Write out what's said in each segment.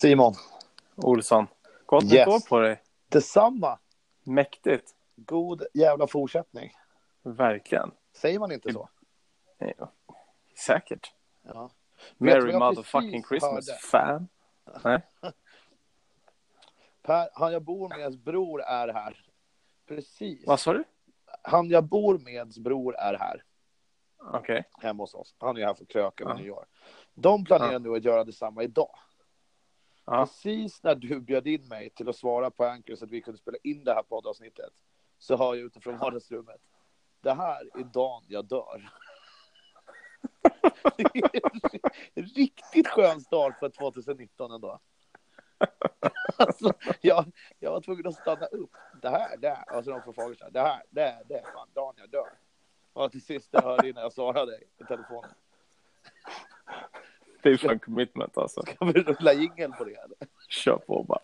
Simon, Olsson. Gott nytt Yes. år på dig. detsamma. Mäktigt. God jävla fortsättning. Verkligen. Säger man inte så? Ja. Säkert. Ja. Vet du Merry vad jag motherfucking precis Christmas, hörde? fan. Per, han jag bor meds bror är här. Precis. Vad sa du? Han jag bor meds bror är här. Okej. Hemma hos oss. Han är här för kröka med Ja. nyår. De planerar Ja. nu att göra detsamma idag. Ja. Precis när du bjöd in mig till att svara på Anchor så att vi kunde spela in det här poddavsnittet så hör jag utifrån vardagsrummet. Det här är dagen jag dör. Det är en Riktigt skön start för 2019 ändå. Alltså, jag, jag var tvungen att stanna upp. Det här, det här. Alltså de får frågor så här. Det här, det här, det är fan dagen jag dör. Och till sist jag hörde innan jag svarade i telefonen. Det är fan commitment alltså. Ska vi rulla jingel på det? Eller? Kör på bara.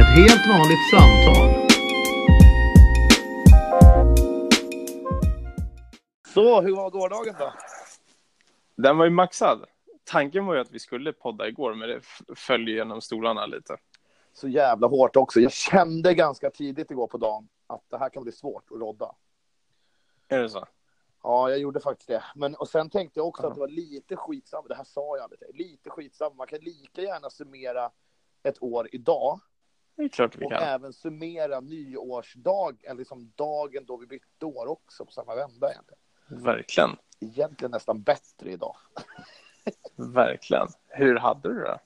Ett helt vanligt samtal. Så, hur var gårdagen då? Den var ju maxad. Tanken var ju att vi skulle podda igår, men det f- föll ju genom stolarna lite. så jävla hårt också. Jag kände ganska tidigt igår på dagen att det här kan bli svårt att rodda. Är det så? Ja, jag gjorde faktiskt det. Men, och sen tänkte jag också Ja. att det var lite skitsamma. Det här sa jag aldrig till dig. Lite skitsamma. Man kan lika gärna summera ett år idag Det är klart vi och kan. även summera nyårsdag, eller liksom dagen då vi bytte år också på samma vända. Egentligen, Verkligen. egentligen nästan bättre idag. Verkligen. Hur hade du det?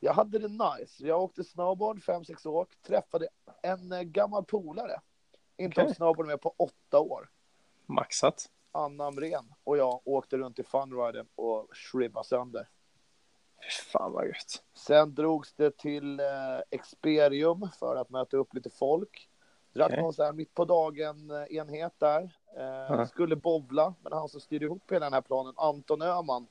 Jag hade det nice. Jag åkte snowboard, fem sex år, träffade en eh, gammal polare. Inte Okej. okay. snowboard med på åtta år. Maxat. Anna Amrén och jag åkte runt i Funriden och shribbade sönder. Fy Fan vad gött. Sen drogs det till eh, Experium för att möta upp lite folk. Drack Okej. någon så här mitt på dagen-enhet där. Eh, Ja. Skulle bovla, men han som styrde ihop hela den här planen, Anton Öhman,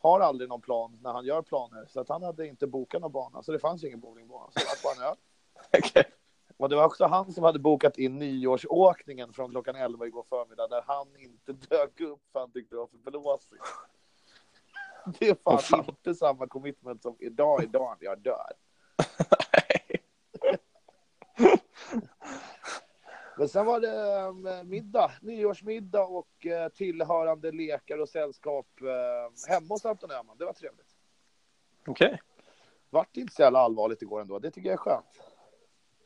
har aldrig någon plan när han gör planer. Så att han hade inte bokat någon bana, så det fanns ju ingen bowlingbana. Så det var bara en öl. Okej. Och det var också han som hade bokat in nyårsåkningen från klockan 11 igår förmiddag där han inte dök upp för han tyckte det var för blåsigt. Det är fan, Åh, fan. inte samma commitment som idag, idag, jag dör. Men sen var det eh, middag, nyårsmiddag och eh, tillhörande lekar och sällskap eh, hemma hos Anton Öhman. Det var trevligt. Okej. Vart inte så jävla allvarligt igår ändå. Det tycker jag är skönt.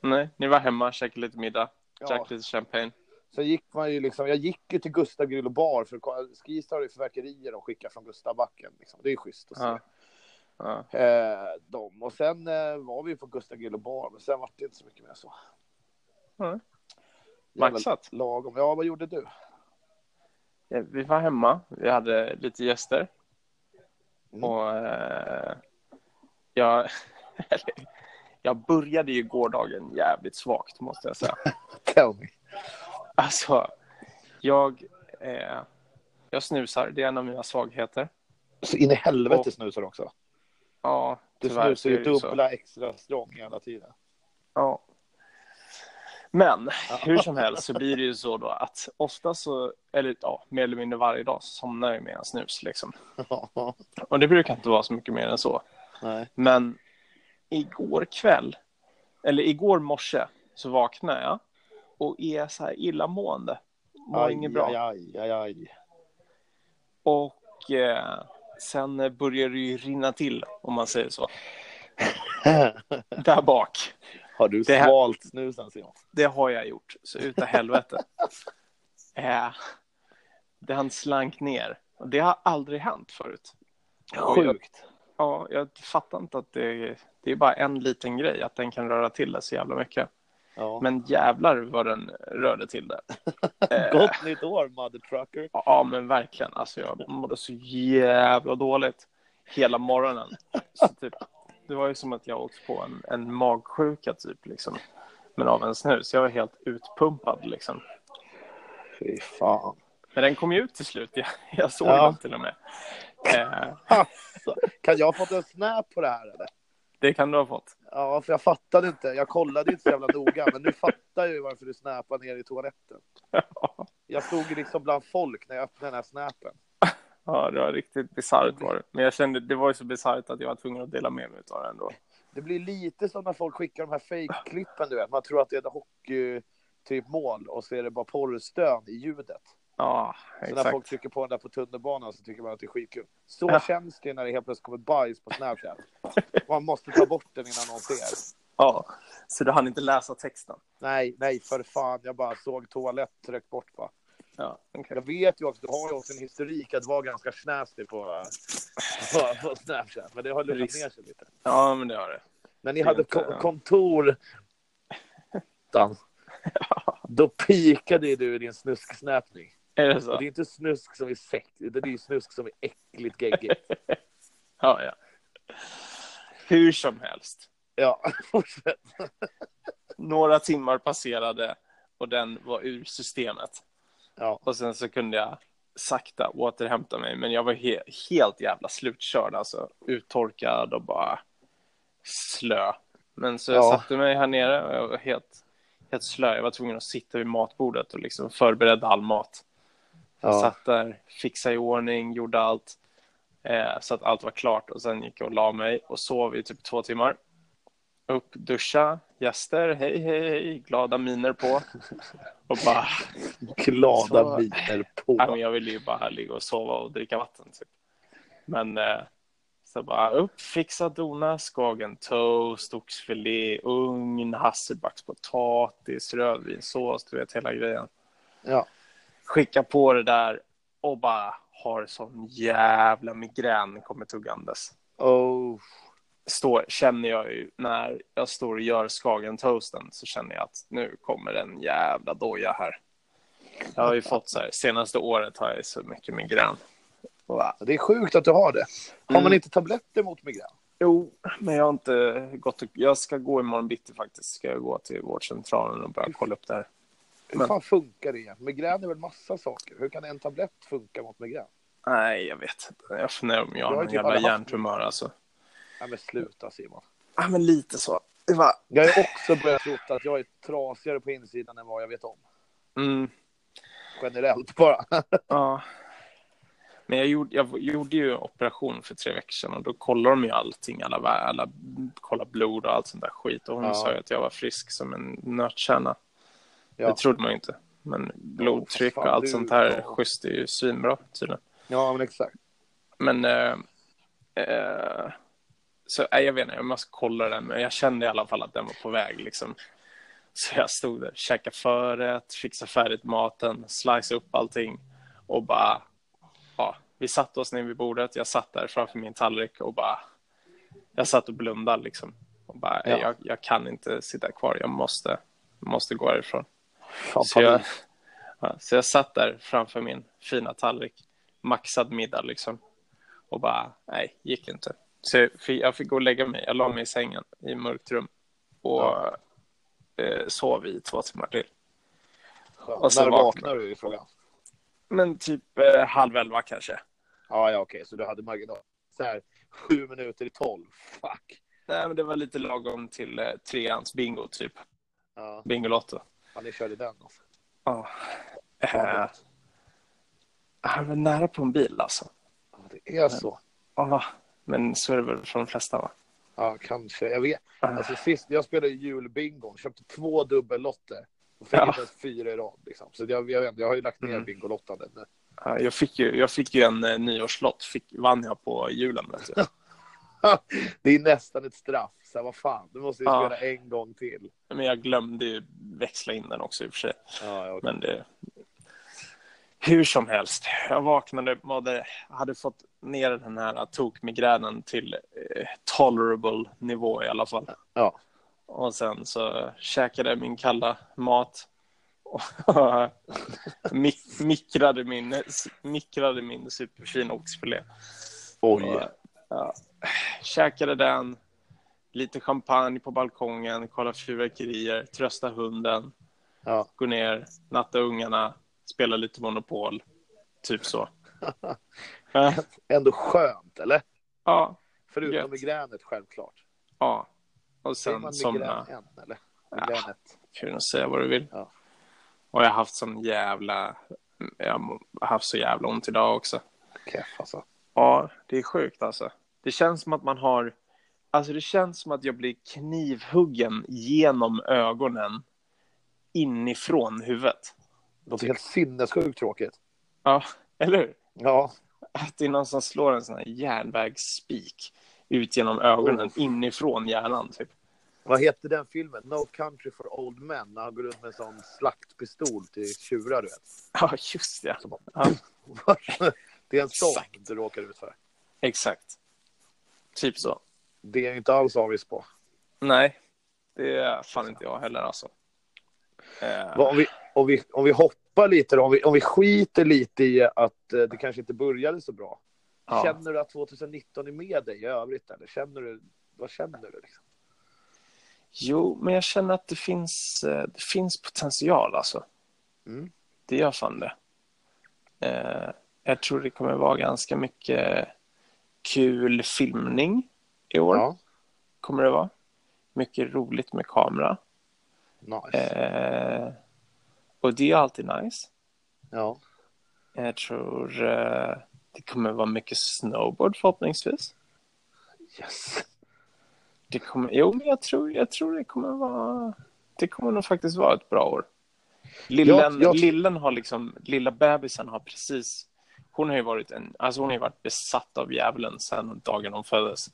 Nej, ni var hemma, käkade lite middag, Ja. drack lite champagne. Sen gick man ju liksom, jag gick ju till Gustav Grill och Bar för att kolla- Skistar har ju fyrverkerier de skickar från Gustavbacken. Liksom. Det är schysst att se. Ja. Ja. Eh, dem. Och sen eh, var vi på Gustav Grill och Bar, men sen var det inte så mycket mer så. Nej. Jävla Maxat. Lagom. Ja, vad gjorde du? Ja, Vi var hemma, vi hade lite gäster. Mm. Och eh, jag, eller, jag började ju gårdagen jävligt svagt måste jag säga. Tell me. Alltså, jag, eh, jag snusar, det är en av mina svagheter. Så in i helvete Och- snusar du också. Ja, Du tyvärr så snusar är ju det ju så. dubbla extra strång hela tiden. Ja. Men hur som helst så blir det ju så då att ofta så, eller ja, mer eller mindre varje dag så somnar jag med en snus liksom. Och det brukar inte vara så mycket mer än så. Nej. Men igår kväll, eller igår morse, så vaknade jag och är så här illamående. Mår inget bra. Aj, aj, aj, aj. Och eh, sen eh, börjar det ju rinna till, om man säger så. Där bak. Har du Det här- svalt snusen Simon? Det har jag gjort, så utav helvete. eh, den slank ner. Och Det har aldrig hänt förut. Oj, jag- Sjukt. Ja, jag fattar inte att det, det är bara en liten grej, att den kan röra till det så jävla mycket. Ja. Men jävlar vad den rörde till det. Eh, Gott nytt år, mother trucker. ja, men verkligen. Alltså, jag mådde så jävla dåligt hela morgonen. Så typ, det var ju som att jag åkte på en, en magsjuka, typ, liksom. men av en snus. Jag var helt utpumpad. Liksom. Fy fan. Men den kom ju ut till slut. Jag, jag såg Ja. den till och med. Eh, Alltså, kan jag ha fått en snap på det här eller? det kan du ha fått. Ja, för jag fattade inte. Jag kollade inte så jävla noga, men nu fattar jag ju varför du snappade ner i toaletten. Jag stod ju liksom bland folk när jag öppnade den här snappen. Ja, det var riktigt bisarrt var det. Men jag kände, det var ju så bisarrt att jag var tvungen att dela med mig av det ändå. Det blir lite som när folk skickar de här fake-klippen, du vet. Man tror att det är ett hockey typ mål och så är det bara porrstön i ljudet. Ja, Så när folk exakt. trycker på den där på tunnelbanan så tycker man att det är skitkul. Så Ja. känns det när det helt plötsligt kommer bajs på Snapchat. Man måste ta bort den innan någon ser. Ja, så du hann inte läsa texten? Nej, nej för fan. Jag bara såg toalett, tryck bort bara. Ja, okej. Jag vet ju också, du har ju också en historik att vara ganska snäsig på, på, på Snapchat. Men det har lugnat Risk. ner sig lite. Ja, men det har det. När ni Det är hade inte- ko- kontor... Dan. Då pikade ju du i din snusksnäpning. Är det Och så? det är inte snusk som är sex, utan det är ju snusk som är äckligt geggigt. Ja, ja. Hur som helst. Ja, fortsätt. några timmar passerade och den var ur systemet. Ja. Och sen så kunde jag sakta återhämta mig, men jag var he- helt jävla slutkörd, alltså uttorkad och bara slö. Men så jag Ja. satte mig här nere och jag var helt, helt slö. Jag var tvungen att sitta vid matbordet och liksom förberedde all mat. Jag Ja. satt där, fixade i ordning, gjorde allt eh, så att allt var klart och sen gick jag och la mig och sov i typ två timmar. Upp, duscha, gäster, hej, hej, hej, glada miner på. Och bara, Glada Så- miner nej, men på. jag ville ju bara ligga och sova och dricka vatten. Typ. Men eh, så bara upp, fixa, dona, skagen toast, oxfilé, ugn, hasselbackspotatis, rödvinssås, du vet hela grejen Ja. skicka på det där och bara har sån jävla migrän kommer tuggandes. Oh. Står, känner jag ju när jag står och gör Skagen-toasten så känner jag att nu kommer en jävla doja här. Jag har ju fått så här, senaste året har jag ju så mycket migrän. Och bara, Det är sjukt att du har det. Har man Mm. inte tabletter mot migrän? Jo, men jag har inte gått och, jag ska gå imorgon bitti faktiskt, ska jag gå till vårdcentralen och börja kolla upp det här. Hur Men- fan funkar det? Migrän är väl massa saker. Hur kan en tablett funka mot migrän? Nej, jag vet inte. Jag funderar om jag Du har har ju någon typ alla jävla haft- hjärntumör alltså. Nej men sluta Simon. Ja, men lite så. Det var Jag har ju också börjat tro att jag är trasigare på insidan än vad jag vet om. Mm. Generellt bara. Ja. Men jag gjorde, jag gjorde ju operation för tre veckor sedan och då kollade de ju allting, alla, vä- alla kolla blod och allt sånt där skit och hon Ja. sa ju att jag var frisk som en nötkärna. Ja. Det trodde man ju inte. Men blodtryck fan, och allt du- sånt här ja. schysst är ju svinbra tydligen. Ja men exakt. Men eh, eh, så nej, jag vet inte, jag måste kolla den men jag kände i alla fall att den var på väg liksom. Så jag stod där, käkade förrätt, fixade färdigt maten, slice upp allting och bara, ja, vi satte oss ner vid bordet, jag satt där framför min tallrik och bara, jag satt och blundade liksom. Och bara, Ja. jag, jag kan inte sitta kvar, jag måste, måste gå härifrån. Fan, Så jag, ja, så jag satt där framför min fina tallrik, maxad middag liksom. Och bara, nej, gick inte. Så jag fick, jag fick gå och lägga mig. Jag la mig i sängen i mörkt rum och eh, sov i två timmar till. Skönt. Och sen När vaknar- vaknar du i frågan? Men typ eh, halv elva kanske. Ja, ja okej, så du hade marginal. Så här, sju minuter i tolv. Fuck. Nej, men det var lite lagom till eh, treans bingo, typ. Ja, Bingolotto. ja ni körde den. Alltså. Ja. Eh, han var nära på en bil alltså. Ja, det är så. Ja, men så är det väl för de flesta va? Ja, kanske. Jag vet. Alltså sist, jag spelade julbingon, köpte två dubbellotter. Och fick Ja. inte ens fyra i rad. Liksom. Så jag, jag, vet, inte, jag har ju lagt ner Mm. bingolottandet. nu. Ja, jag, fick ju, jag fick ju en eh, nyårslott, fick, vann jag på julen. Vet du. Det är nästan ett straff. Så här, vad fan, du måste ju Ja. spela en gång till. Men jag glömde ju växla in den också i och för sig. Ja, ja, okej. Men det... Hur som helst, jag vaknade, mådde, hade fått ner den här tokmigränen till eh, tolerable nivå i alla fall. ja. Och sen så käkade jag min kalla mat. Och mik- mikrade, min, mikrade min superfina oxfilé. Oj. Och, ja, käkade den, lite champagne på balkongen, kolla fyrverkerier, trösta hunden, Ja. gå ner, natta ungarna, spela lite Monopol, typ så. Eh, Ändå skönt, eller? ja, Förutom Gött. migränet självklart. ja. Och Säger sen man somna. migrän än, eller? Ja. Migränet. kunna säga vad du vill. Ja. Och jag har haft sån jävla... Jag har haft så jävla ont idag också. keff alltså. Ja, det är sjukt alltså. Det känns som att man har... Alltså det känns som att jag blir knivhuggen genom ögonen inifrån huvudet. Det låter helt sinnessjukt tråkigt. Ja, eller hur? Ja. Att det är någon som slår en sån här järnvägsspik ut genom ögonen inifrån hjärnan typ. Vad heter den filmen? No Country for Old Men. När han går runt med en sån slaktpistol till tjurar, du vet. Ja, just det. Som Ja. det är en sån Exakt. du råkar ut för. Exakt. Typ så. Det är jag inte alls avis på. Nej, det är fan inte jag heller alltså. Eh, Vad Om vi, om vi, om vi hoppar lite då, om vi, om vi skiter lite i att eh, det kanske inte började så bra. Ja. Känner du att 2019 är med dig i övrigt? Eller? Känner du, vad känner du? Liksom? Jo, men jag känner att det finns, eh, det finns potential alltså. Mm. Det gör fan det. Eh, jag tror det kommer vara ganska mycket kul filmning i år. Ja, Kommer det vara. Mycket roligt med kamera. nice. Eh, och det är alltid nice. Ja. Jag tror eh, det kommer vara mycket snowboard förhoppningsvis. Yes. Det kommer, jo, men jag tror, jag tror det kommer vara... Det kommer nog faktiskt vara ett bra år. Lillen, Jag- jag- Lillen har liksom... Lilla bebisen har precis... Hon har ju varit, en, alltså hon har ju varit besatt av djävulen sedan dagen hon föddes.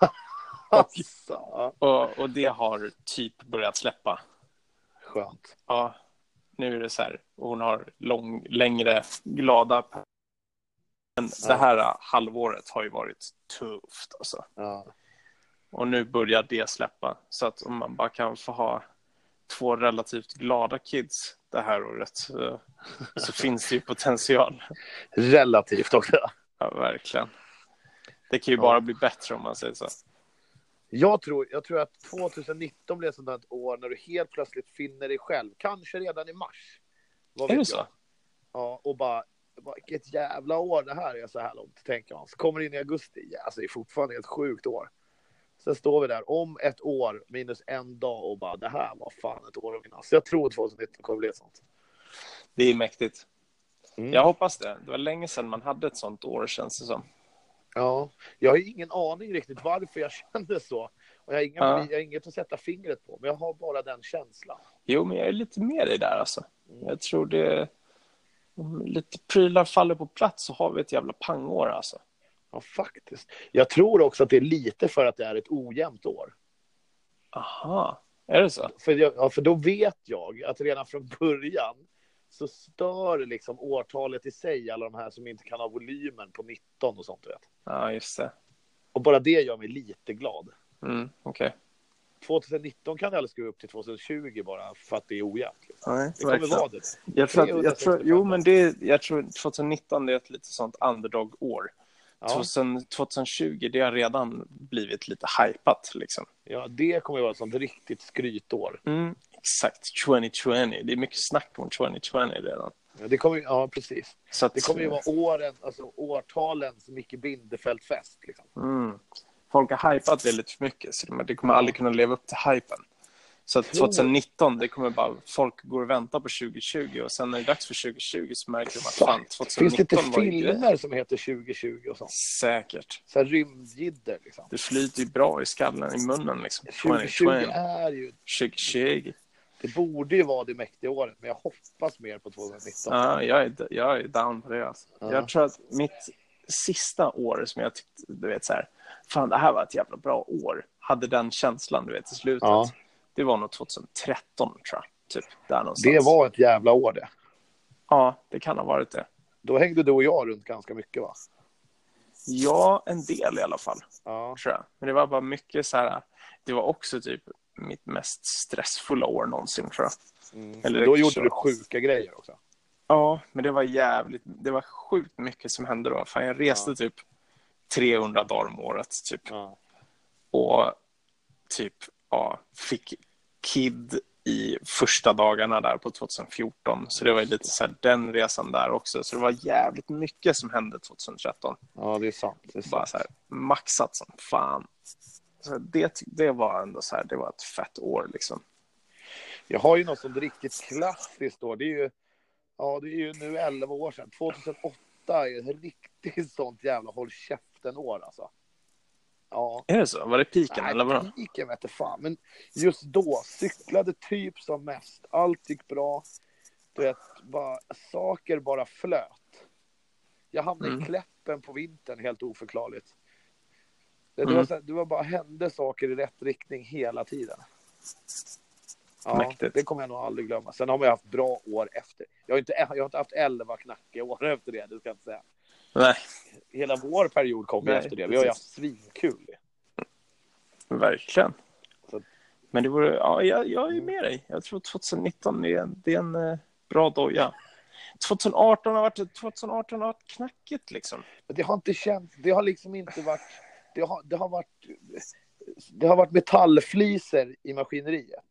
Alltså, ja, Och, och det har typ börjat släppa. skönt. Ja, nu är det så här. Och hon har lång, längre, glada... Men det här eh, halvåret har ju varit tufft alltså. Ja. Och nu börjar det släppa. Så att om man bara kan få ha två relativt glada kids det här året så, så finns det ju potential. Relativt också. Ja, verkligen. Det kan ju Ja. bara bli bättre om man säger så. Jag tror, jag tror att 2019 blir ett sånt här ett år när du helt plötsligt finner dig själv. Kanske redan i mars. Vad Är vet det jag? så? Ja, och bara, vilket jävla år det här är så här långt, tänker man. Så kommer det in i augusti, ja, alltså det är fortfarande ett sjukt år. Sen står vi där om ett år minus en dag och bara, det här var fan ett år att minnas. Så jag tror 2019 kommer bli ett sånt. Det är mäktigt. Mm. Jag hoppas det. Det var länge sedan man hade ett sånt år känns det som. Ja, jag har ju ingen aning riktigt varför jag kände så. Och jag har, inga, Ja. jag har inget att sätta fingret på, men jag har bara den känslan. Jo, men jag är lite med dig där alltså. Jag tror det... Om lite prylar faller på plats så har vi ett jävla pangår alltså. Ja, faktiskt. Jag tror också att det är lite för att det är ett ojämnt år. Aha, är det så? För, jag, ja, för då vet jag att redan från början så stör liksom årtalet i sig alla de här som inte kan ha volymen på 19 och sånt. du Vet. Ja, just det. Och bara det gör mig lite glad. Mm, okej. 2019 kan jag aldrig skruva upp till 2020 bara för att det är ojämnt. Liksom. Nej, Det kommer verkligen. vara det. Jag tror, att, jag 365 tror, jo, men det, är- jag tror 2019 det är ett lite sånt underdog-år. Ja, 2000 2020 det har redan blivit lite hypat. Liksom. ja, det kommer ju vara ett sånt riktigt skrytår. Mm, exakt, 2020. Det är mycket snack om 2020 redan. Ja, Det kommer, ju- ja, precis. Så att, Det kommer ju vara åren, alltså årtalens Micke Bindefeld-fest. Liksom. mm, folk har hypat det lite för mycket, så det- det kommer aldrig kunna leva upp till hypen. Så att 2019, det kommer bara, folk går och väntar på 2020 och sen när det är dags för 2020 så märker de att fan, 2019 Finns det inte Alltså, var ju grejen. filmer som heter 2020 och sånt? Säkert. Så här rymdjidder liksom. Det flyter ju bra i skallen, i munnen liksom. 2020 2020. är ju 2020. Det borde ju vara det mäktiga året, men jag hoppas mer på 2019. Ja, jag är, jag är down på det alltså. Ja. Jag tror att mitt sista år som jag tyckte, du vet så här, fan det här var ett jävla bra år, hade den känslan du vet i slutet. Ja. Det var nog 2013 tror jag, typ där någonstans. det var ett jävla år det. Ja, det kan ha varit det. Då hängde du och jag runt ganska mycket va? Ja, en del i alla fall. Ja. tror jag. Men det var bara mycket så här, det var också typ mitt mest stressfulla år någonsin tror jag. Eller det mm. Då kanske gjorde du var- sjuka grejer också. Ja, men det var jävligt, det var sjukt mycket som hände då. Fan, jag reste typ 300 dagar om året typ. Ja. Och typ, ja, fick kid i första dagarna där på 2014. Så det var ju lite så här den resan där också. Så det var jävligt mycket som hände 2013 ja, det är sant. Det är sant. bara så här, maxat som fan. Så det, det var ändå så här, det var ett fett år liksom. Jag har ju något som är riktigt klassiskt då. Det är ju, ja, det är ju nu 11 år sedan. 2008 Åtta är ett riktigt sånt jävla håll käften-år alltså. Ja. Är det så? Var det piken eller vadå? Nej, piken vete fan. Men just då, cyklade typ som mest. Allt gick bra. Du vet, bara, saker bara flöt. Jag hamnade Mm. i Kläppen på vintern helt oförklarligt. Det, det, var, Mm. så, här- det var bara hände saker i rätt riktning hela tiden. Ja, Mäktigt. det kommer jag nog aldrig glömma. Sen har man ju haft bra år efter. Jag har inte, jag har inte haft elva knackiga år efter det, det ska jag inte säga. Nej, Hela vår period kom ju Nej, efter det. Vi har ju precis. haft svinkul. verkligen. Så- Men det vore, ja, jag, jag är med dig. Jag tror 2019 är en, det är en eh, bra doja. 2018 har varit, 2018 har varit knackigt liksom. Men Det har inte känts, det har liksom inte varit, det har, det har varit, det har varit metallfliser i maskineriet.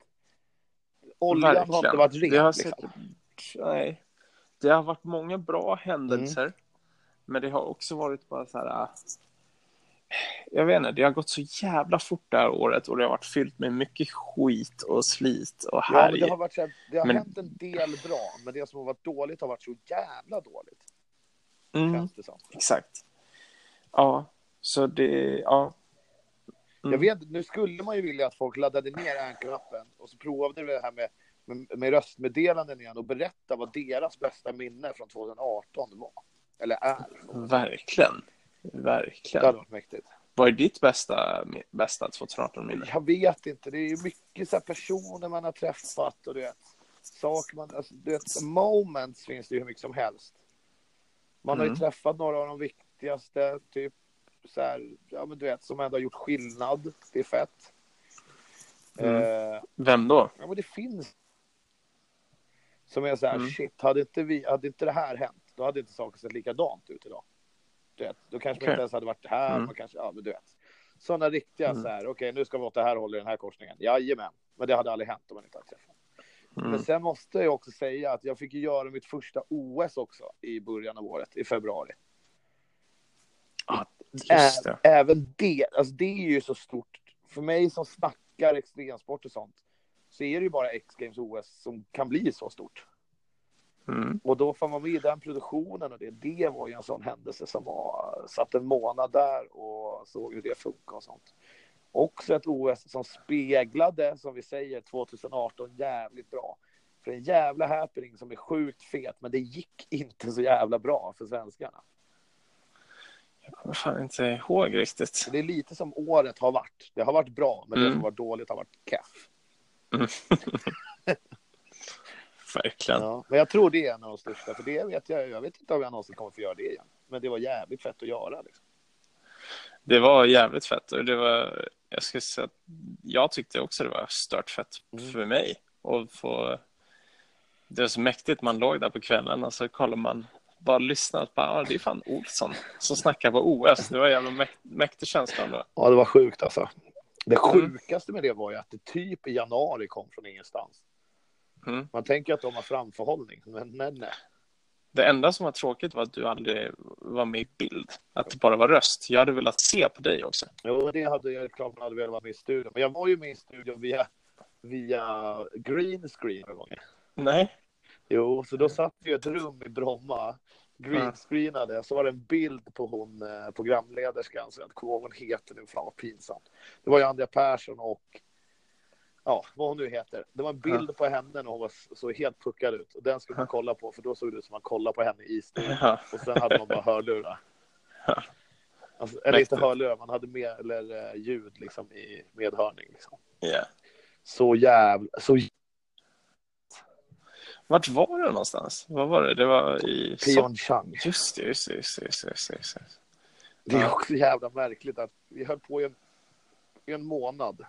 Oljan har inte Verkligen. varit ren. Det har, liksom. säkert, nej. det har varit många bra händelser. Mm. Men det har också varit bara så här... äh, Jag vet inte, det har gått så jävla fort det här året och det har varit fyllt med mycket skit och slit och ja, men härj. det har, varit så här, det har Men- hänt en del bra, men det som har varit dåligt har varit så jävla dåligt. mm, Känns det som. exakt. Ja, så det... Ja. Mm. Jag vet inte, nu skulle man ju vilja att folk laddade ner Anchor-appen och så provade vi det här med, med, med röstmeddelanden igen och berätta vad deras bästa minne från 2018 var. Eller är. Verkligen. Det hade Verkligen. varit mäktigt. Vad är ditt bästa, bästa 2018-minne? Jag vet inte. Det är ju mycket så här personer man har träffat och du vet, saker man... Alltså, du vet, moments finns det ju hur mycket som helst. Man har ju Mm. träffat några av de viktigaste, typ så här, ja men du vet, som ändå har gjort skillnad. Det är fett. Mm. Eh, Vem då? ja men det finns. Som är så här, Mm. shit, hade inte, vi, hade inte det här hänt, då hade inte saker sett likadant ut idag. Du vet, då kanske man Okej. inte ens hade varit här, Mm. man kanske, ja men du vet. Sådana riktiga Mm. så här, okej nu ska vi åt det här hållet i den här korsningen. Jajamän, men det hade aldrig hänt om man inte hade träffat. Mm. Men sen måste jag också säga att jag fick ju göra mitt första OS också i början av året, i februari. Ja, Ä- just det. Även det, alltså det är ju så stort. För mig som snackar extremsport och sånt, så är det ju bara X-Games OS som kan bli så stort. Mm. Och då får man med i den produktionen och det, det var ju en sån händelse som var, satt en månad där och såg hur det funkar och sånt. Också ett OS som speglade, som vi säger, 2018 jävligt bra. För en jävla happening som är sjukt fet, men det gick inte så jävla bra för svenskarna. Jag kommer fan inte ihåg riktigt. Så det är lite som året har varit. Det har varit bra, men det Mm. som var dåligt har varit keff. Verkligen. Ja. Men jag tror det är en av de största, för det vet jag. Jag vet inte om jag någonsin kommer få göra det igen. Men det var jävligt fett att göra. Liksom. Det var jävligt fett. Och det var, jag, ska säga, att jag tyckte också det var stört fett Mm. för mig. Och få, det var så mäktigt. Man låg där på kvällen och så kollade man bara lyssnade. Bara, ah, det är fan Olsson som snackar på OS. Det var en jävla mäk- mäktig känsla. Då. Ja, det var sjukt alltså. Det sjukaste med det var ju att det typ i januari kom från ingenstans. Mm. Man tänker att de har framförhållning, men nej, nej. Det enda som var tråkigt var att du aldrig var med i bild. Att det bara var röst. Jag hade velat se på dig också. Jo, det hade jag klart man hade velat vara med i studion. Men jag var ju med i studion via, via green screen någon gång. Nej. Jo, Eh. så då satt vi i ett rum i Bromma, Mm. greenscreenade, så var det en bild på hon eh, programlederskan, så jag kommer inte ihåg vad hon heter nu, fan vad pinsamt. Det var ju Andrea Persson och, ja, vad hon nu heter. Det var en bild på henne när hon var, s- såg helt puckad ut, och den skulle man kolla på, för då såg det ut som man kollade på henne i studion, Ja. och sen hade man bara hörlurar. Ja. Alltså, eller inte Mäktigt. hörlurar, man hade med, eller eh, ljud liksom i medhörning. Liksom. Ja. Så jävla, så Vart var det någonstans? Vad var det? Det var i... Pyeongchang. Just det, just det, just det, just det, just det, just det. Det är Ja. också jävla märkligt att vi höll på i en, i en månad.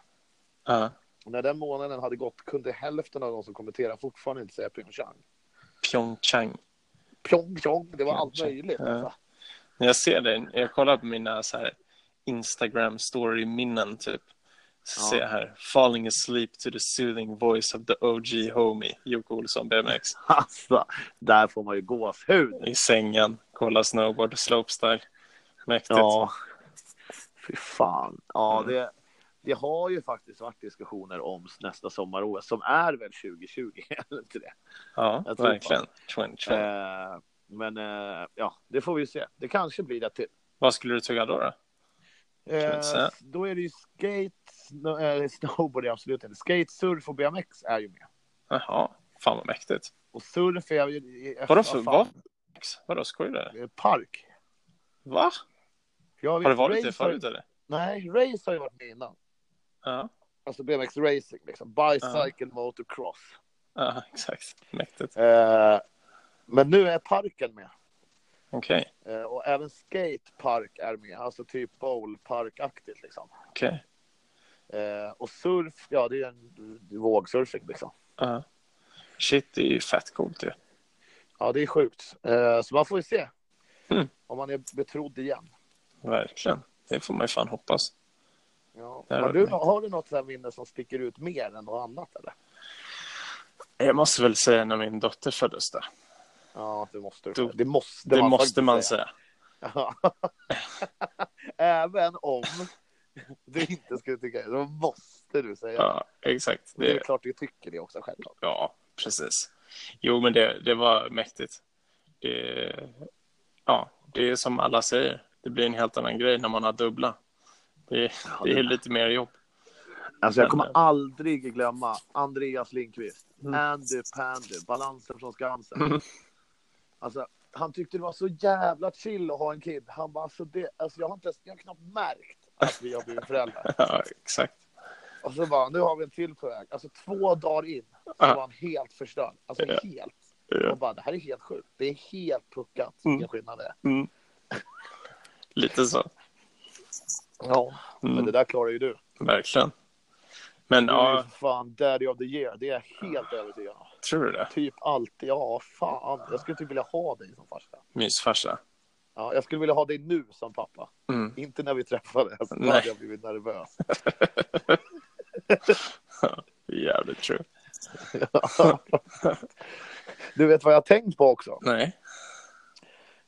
Ja. Och när den månaden hade gått kunde hälften av de som kommenterade fortfarande inte säga Pyeongchang. Pyeongchang. Pyeongchang, det var allt Pyeongchang. möjligt. Ja. Alltså. När jag ser det, jag kollar på mina så här Instagram story-minnen typ. Så Ja. ser jag här, falling asleep to the soothing voice of the OG homie, Jocke Olsson BMX. alltså, där får man ju gåshud. I sängen, kolla snowboard, slopestyle. Mäktigt. Ja. Fy fan. Ja, Mm. det, det har ju faktiskt varit diskussioner om nästa sommar-OS som är väl 2020, eller inte det? Ja, Jag tror verkligen. 2020. Eh, Men eh, ja, det får vi se. Det kanske blir det till. Vad skulle du tugga då? då? jag inte säga. Eh, då är det ju skate, sno, eh, snowboard är absolut inte. Skate, surf och BMX är ju med. Jaha, fan vad mäktigt. Och surf är ju... Vadå ja, för fan, vad? Vadå, skojar du? eh, Park. Va? Jag Har det vet, varit race det förut eller? Nej, race har ju varit med innan. Ja, Alltså BMX racing liksom. Bicycle motocross. ja exakt. Mäktigt. Eh, men nu är parken med. Okej, Eh, och även skatepark är med. Alltså typ bowlparkaktigt liksom. okej. Eh, och surf, ja det är en vågsurfing liksom. Ja. Shit, det är ju fett coolt ju. Ja, det är sjukt. Eh, så man får ju se. Mm. Om man är betrodd igen. Verkligen. Det får man ju fan hoppas. Ja. Där Har, har du, vi. har du något så här minne som sticker ut mer än något annat eller? Jag måste väl säga när min dotter föddes där. Ja, det måste du. Du- det måste Det man måste faktiskt man säga. Ja. Även om du inte skulle tycka det, då måste du säga det. Ja, exakt. Och Det är Det, klart du tycker det också självklart. ja, precis. Jo, men det, det var mäktigt. Det, ja, det är som alla säger. Det blir en helt annan grej när man har dubbla. Det, det är lite mer jobb. Alltså jag Men- eh, kommer aldrig glömma Andreas Lindqvist. Andy Pandy, balansen från Skansen. Mm. Alltså, han tyckte det var så jävla chill att ha en kid. Han bara, alltså, det, alltså jag har inte ens, jag har knappt märkt att vi har blivit föräldrar. Ja, exakt. Och så bara, nu har vi en till på väg. Alltså två dagar in så Ja. var han helt förstörd. Alltså Ja. helt. Ja. Och bara, det här är helt sjukt. Det är helt puckat Mm. vilken skillnad det är. Mm. Lite så. Ja, men det Mm, där klarar ju du. verkligen. Men Du är ju ja, för fan daddy of the year. Det är jag helt övertygad om. tror du det? Typ alltid. Ja, fan. Jag skulle typ vilja ha dig som farsa. Mysfarsa. Ja, jag skulle vilja ha dig nu som pappa. Mm. Inte när vi träffades. Då Nej. hade jag blivit nervös. Jävligt true. Du vet vad jag har tänkt på också? Nej.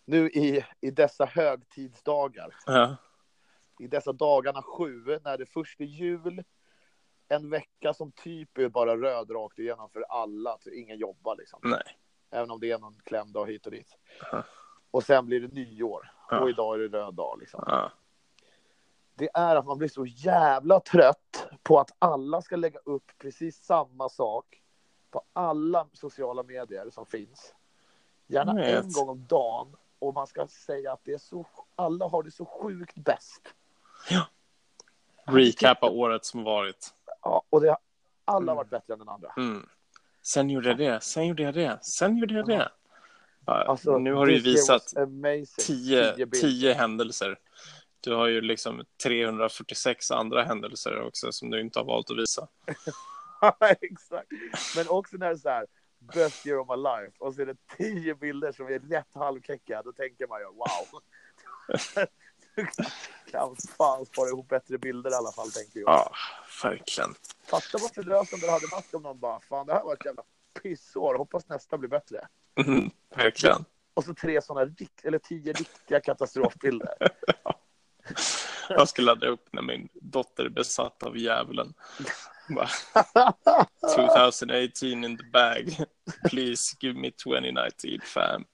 Nu i, i dessa högtidsdagar. Ja. I dessa dagarna sju, när det först är jul. En vecka som typ är bara röd rakt igenom för alla. Så ingen jobbar liksom. Nej. Även om det är någon klämdag hit och dit. Mm. Ja. Och sen blir det nyår. Och Ja. idag är det röd dag liksom. Ja. det är att man blir så jävla trött på att alla ska lägga upp precis samma sak på alla sociala medier som finns. Gärna Jag vet. en gång om dagen och man ska säga att det är så, alla har det så sjukt bäst. Alltså, Recapa året som varit. Ja, och det har alla Mm. varit bättre än den andra. Mm. Sen gjorde jag det, sen gjorde jag det, sen gjorde jag det. Ja, Alltså, nu har du ju this year visat was amazing. Tio tio, bilder. tio händelser. Du har ju liksom 346 andra händelser också som du inte har valt att visa. Ja, Exakt. Men också när det är så här, best year of my life, och så är det tio bilder som är rätt halvkäcka, då tänker man ju wow. Du kan fan spara ihop bättre bilder i alla fall, tänker jag. Ja, verkligen. Fatta vad förlösande det hade varit om någon bara, fan det här var ett jävla pissår, hoppas nästa blir bättre. Mm, verkligen. Och så tre sådana, rikt- eller tio riktiga katastrofbilder. Jag ska ladda upp när min dotter är besatt av djävulen. Bara, 2018 in the bag. Please give me 2019 fam.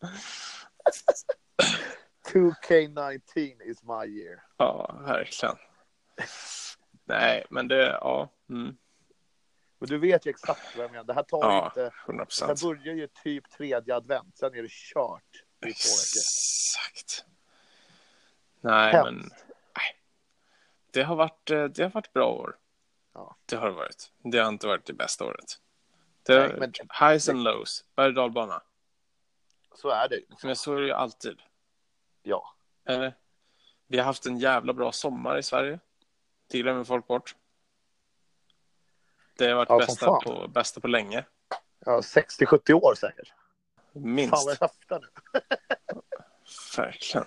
2K19 is my year. Ja, verkligen. Nej, men det, ja. Mm, Men du vet ju exakt vad jag menar, det här tar Ja. alltså. inte, 100 det procent. här börjar ju typ tredje advent, sen är det kört i två veckor. Exakt. Nej, Hemskt. men nej. Det, har varit, eh, det har varit bra år. Ja. Det har det varit. Det har inte varit det bästa året. Det Nej, har, men- highs and lows. Berg och dalbana. Så är det ju. Men så är det ju alltid. Ja. Eller? Vi har haft en jävla bra sommar i Sverige. Det glömmer folk bort. Det har varit Ja, som bästa, fan. på, bästa på länge. ja 60-70 år säkert. Minst. Fan vad jag höftar nu. Verkligen.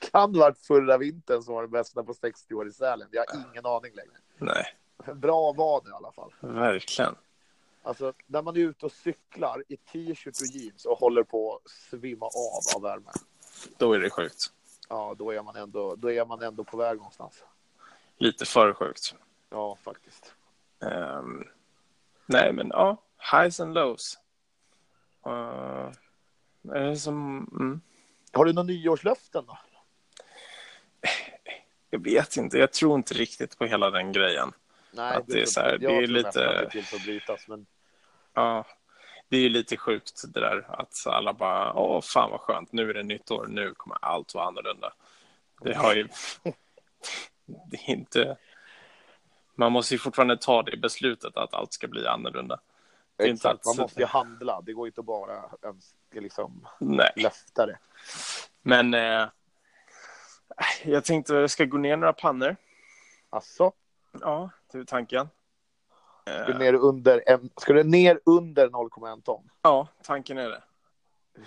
Kan varit förra vintern som var den bästa på 60 år i Sälen. Jag har ingen aning längre. Nej, Men Bra var det i alla fall. verkligen. Alltså när man är ute och cyklar i t-shirt och jeans och håller på att svimma av av värme. Då är det sjukt. Ja, då är man ändå, då är man ändå på väg någonstans. Lite för sjukt. Ja, faktiskt. Ehm, nej, men ja. Highs and lows. Eh, Eh, Som, mm. Har du några nyårslöften då? Jag vet inte, jag tror inte riktigt på hela den grejen. Nej, Att det är så här, det är lite- till för att brytas, men Ja, det är ju lite sjukt det där att så alla bara, åh fan vad skönt, nu är det nytt år, nu kommer allt vara annorlunda. Det har ju, det är inte, man måste ju fortfarande ta det beslutet att allt ska bli annorlunda. Det är inte exakt, man alls- måste ju handla. Det går ju inte att bara önska liksom Nej. löfta det. Men eh, jag tänkte jag ska gå ner några pannor. Alltså, Ja, det är tanken. Eh, ska du ner under, en, ska du ner under 0,1 ton? Ja, tanken är det.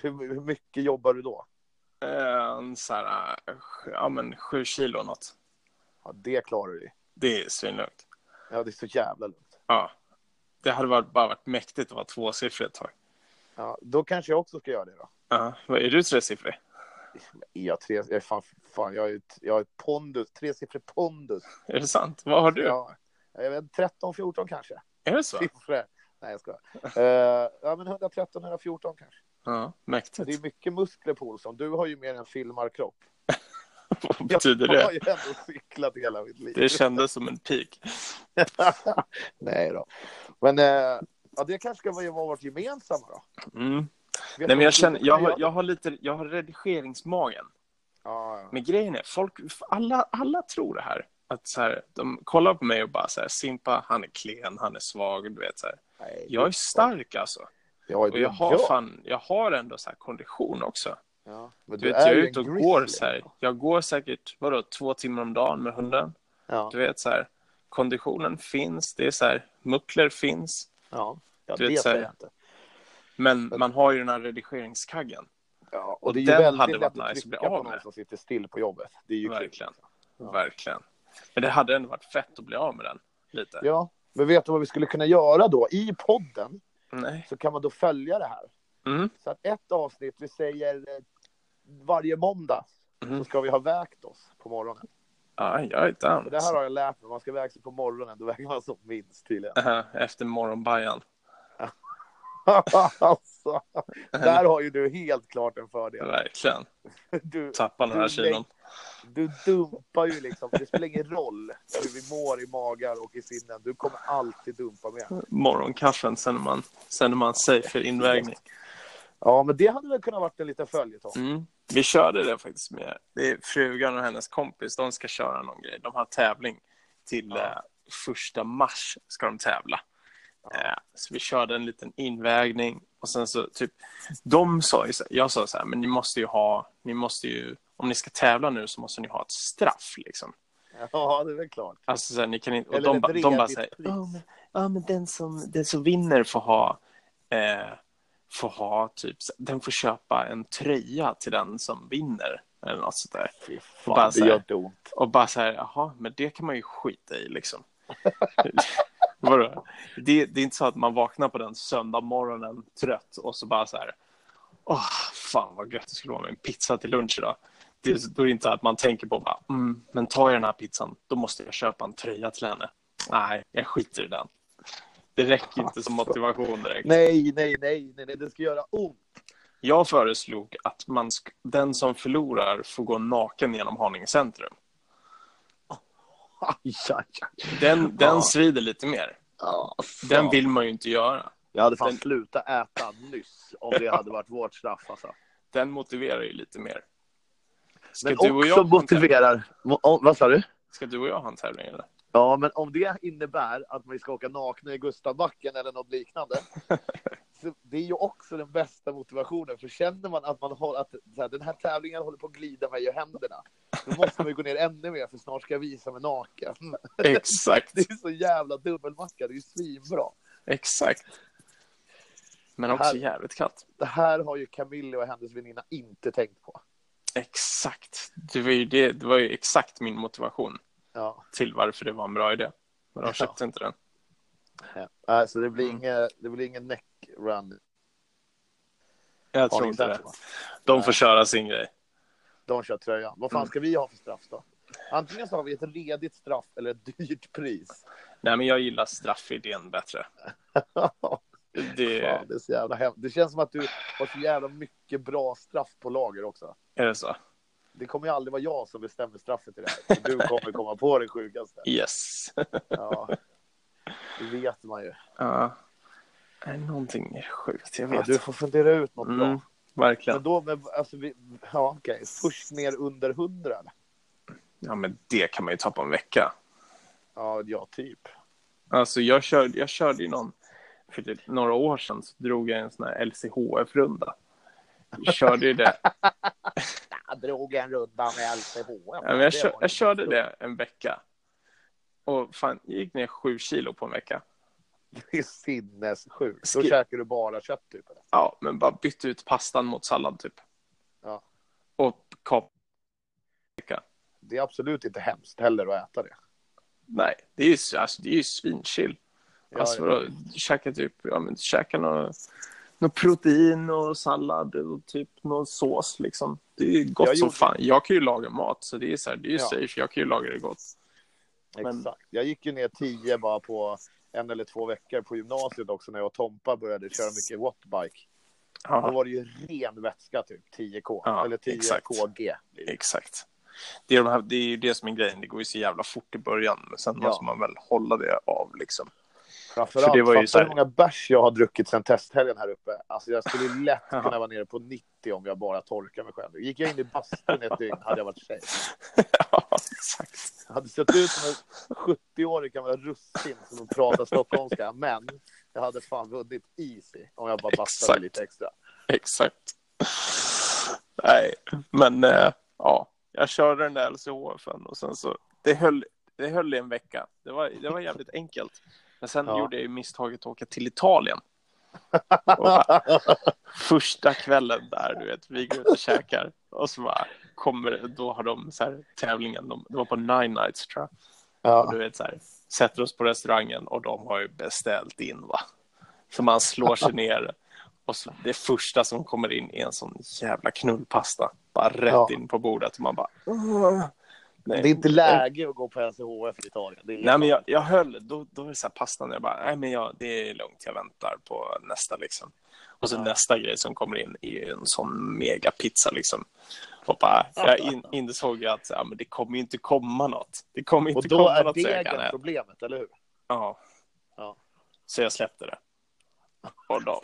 Hur, hur mycket jobbar du då? Eh, En så här, eh, sj- ja men sju kilo något. Ja, det klarar du ju. Det är svinlugnt. Ja, det är så jävla lugnt. Ja. Det hade varit, bara varit mäktigt att vara tvåsiffrig ett tag. Ja, då kanske jag också ska göra det då. Ja, vad är du tresiffrig? Är Jag, tre, jag, är fan, fan, jag, är, ett- jag är ett pondus, tresiffrig pondus. Är det sant? Vad har du? Ja, jag vet, 13, 14 kanske. Är det så? Siffror. Nej, jag skojar. Eh, ja, men 113, 114 kanske. Ja, Det är mäktigt. mycket muskler, Paulsson. Du har ju mer en filmarkropp. Vad betyder Jag har det? ju ändå cyklat hela mitt liv. Det kändes som en pik. Nej då. Men eh, ja, det kanske ska vara vara vårt gemensamma då. Mm. Vet du Nej, men vad jag, du känner, skulle jag, göra? har, jag har lite, jag har redigeringsmagen. Ja, ja. Men grejen är, folk, alla, alla tror det här. Att så här, de kollar på mig och bara så här, Simpa, han är klen, han är svag, du vet så här. Nej, Jag är stark alltså. ja, Och jag har fan, jag har ändå så här kondition också. Ja, men Du vet, jag är ju ute en och går grizzly. så här. Jag går säkert, vadå, två timmar om dagen med hunden. Ja, Du vet så här, konditionen finns, det är så här, muckler finns. ja. ja du vet, det så säger här- jag inte. Men man har ju den här redigeringskaggen. Ja, och och det är ju den väldigt hade lätt varit nice att att trycka bli på av någon med. som sitter still på jobbet. Det är ju kul. Verkligen. Ja. Verkligen. Men det hade ändå varit fett att bli av med den. Lite. Ja, men vet du vad vi skulle kunna göra då? I podden Nej. så kan man då följa det här. Mm. Så att ett avsnitt, vi säger eh, varje måndag, Mm. så ska vi ha vägt oss på morgonen. Ja, jag är Och down. det här har jag lärt mig, man ska väga sig på morgonen, då väger man som minst tydligen. Eh, Efter morgonbajan. alltså, där har ju du helt klart en fördel. Verkligen. Du, Tappa några Du kilon. du dumpar ju liksom, det spelar ingen roll hur vi mår i magar och i sinnen, du kommer alltid dumpa med. Morgonkaffen sen är man, sen är man safe för invägning. Ja, men det hade väl kunnat varit en liten följetong. Mm. Vi körde det faktiskt med det är frugan och hennes kompis. De ska köra någon grej. De har tävling till Ja. eh, första mars ska de tävla. Eh, så vi körde en liten invägning och sen så typ de sa ju så, jag sa så här, men ni måste ju ha, ni måste ju, om ni ska tävla nu så måste ni ha ett straff liksom. Ja, det är väl klart. Alltså så här, ni kan inte, och Eller de, ett ba, de bara revigt säger, pris. ja men, ja, men den, som, den som vinner får ha, eh, får ha typ, så- den får köpa en tröja till den som vinner eller något sånt där. Fy Och bara fan, så det här- gör inte ont. Och bara så här, jaha, men det kan man ju skita i liksom. Vadå? Det, det är inte så att man vaknar på den söndag morgonen trött och så bara så här, åh, fan vad gött det skulle vara med en pizza till lunch idag. Det är, då är det inte att man tänker på bara, mm, men tar jag den här pizzan, då måste jag köpa en tröja till henne. Nej, jag skiter i den. Det räcker inte som motivation direkt. Nej, nej, nej, nej, nej, det ska göra ont. Jag föreslog att man sk- den som förlorar får gå naken genom Haninge centrum. Aj, aj, aj. Den, den svider lite mer. Ja, Den fan. vill man ju inte göra. Jag hade fan Den- slutat äta nyss om det hade varit vårt straff. Alltså. Den motiverar ju lite mer. Ska, Men du och, jag också ha en tävling? motiverar... Mo- om- Vad sa du? Ska du och jag ha en tävling? Eller? Ja, men om det innebär att vi ska åka nakna i Gustavbacken eller något liknande. Så det är ju också den bästa motivationen, för känner man att, man har, att så här, den här tävlingen håller på att glida mig i händerna, då måste man ju gå ner ännu mer, för snart ska jag visa mig naken. Exakt. Det är så jävla dubbelmacka, det är ju svinbra. Exakt. Men också Här- jävligt kallt. Det här har ju Camille och hennes väninna inte tänkt på. Exakt. Det var, ju det, det var ju exakt min motivation Ja, till varför det var en bra idé. Men de köpte inte den. äh, så det blir inget, det blir ingen neck run. Jag Ja, tror inte det. exakt, va? De får köra sin grej. De kör tröjan. Vad Mm. fan ska vi ha för straff då? Antingen så har vi ett redigt straff eller ett dyrt pris. Nej, men jag gillar straffidén bättre. Det, Fan, det är så jävla hemskt. Det känns som att du har så jävla mycket bra straff på lager också. är det så? Det kommer ju aldrig vara jag som bestämmer straffet i det här. Du kommer komma på det sjukaste. Yes. Ja. Det vet man ju. Ja. Nej, någonting är sjukt, jag Ja, vet. du får fundera ut något Mm, bra. verkligen. Men då, men, alltså, vi, ja, okej. Först ner under 100? eller? Ja, men det kan man ju ta på en vecka. Ja, ja, typ. Alltså, jag körde, jag körde ju någon... För typ några år sedan så drog jag en sån här LCHF-runda. Jag körde ju det. Jag drog en runda med LCH. Ja, men jag, kör, jag körde det en vecka. Och fan, jag gick ner sju kilo på en vecka. Det är sinnessjukt. Då Skri- käkar du bara kött typ. eller? Ja, men bara bytte ut pastan mot sallad typ. Ja. Och kap... Det är absolut inte hemskt heller att äta det. Nej, det är ju, alltså, det är ju svinchill. Ja, alltså ja. vadå, käka typ, ja men käka något, något protein och sallad och typ någon sås liksom. Det är ju gott Jag som gjorde- fan. Jag kan ju laga mat så det är så här, det är ju Ja. safe. Jag kan ju laga det gott. Men- Exakt. Jag gick ju ner 10 bara på en eller två veckor på gymnasiet också när jag och Tompa började köra mycket wattbike. Då Ja, var det ju ren vätska typ, 10K. Ja, eller 10 exakt. KG. blir det. exakt. Det är, de här, det är ju det som är grejen. Det går ju så jävla fort i början men sen Ja. måste man väl hålla det av liksom. Framförallt, För det var ju fattar så här- hur många bärs jag har druckit sen testhelgen här uppe. Alltså jag skulle ju lätt Ja. kunna vara nere på 90 om jag bara torkar mig själv. Gick jag in i bastun ett dygn hade jag varit tjej. ja, exakt. Jag hade sett ut som en 70-årig gammal russin som pratar stockholmska. Men jag hade fan vunnit easy om jag bara bastade Exakt. lite extra. Exakt. Nej, men eh, ja, jag körde den där LCHFen och sen så det höll, det höll i en vecka. Det var, det var jävligt enkelt. Men sen Ja. gjorde jag ju misstaget att åka till Italien. Och bara, första kvällen där, du vet, vi går ut och käkar och så bara kommer det- då har de så här tävlingen, de, det var på Nine Nights tror jag. Och Ja. du vet så här, sätter oss på restaurangen och de har ju beställt in va. Så man slår sig ner och så det första som kommer in är en sån jävla knullpasta. Bara rätt Ja. in på bordet och man bara... "Åh." Det Nej, är inte läge att gå på LCHF i Italien. Det är Nej men jag, jag höll, då, då är det så här pastan, jag bara, nej men jag, det är lugnt, jag väntar på nästa liksom. Och så Ja. nästa grej som kommer in är ju en sån megapizza liksom. Och bara, jag in, insåg ju att ja, men det kommer ju inte komma något. Det kommer Och inte då komma är något så jag kan degen äta. problemet, eller hur? Ja. Ja. Så jag släppte det. Och då,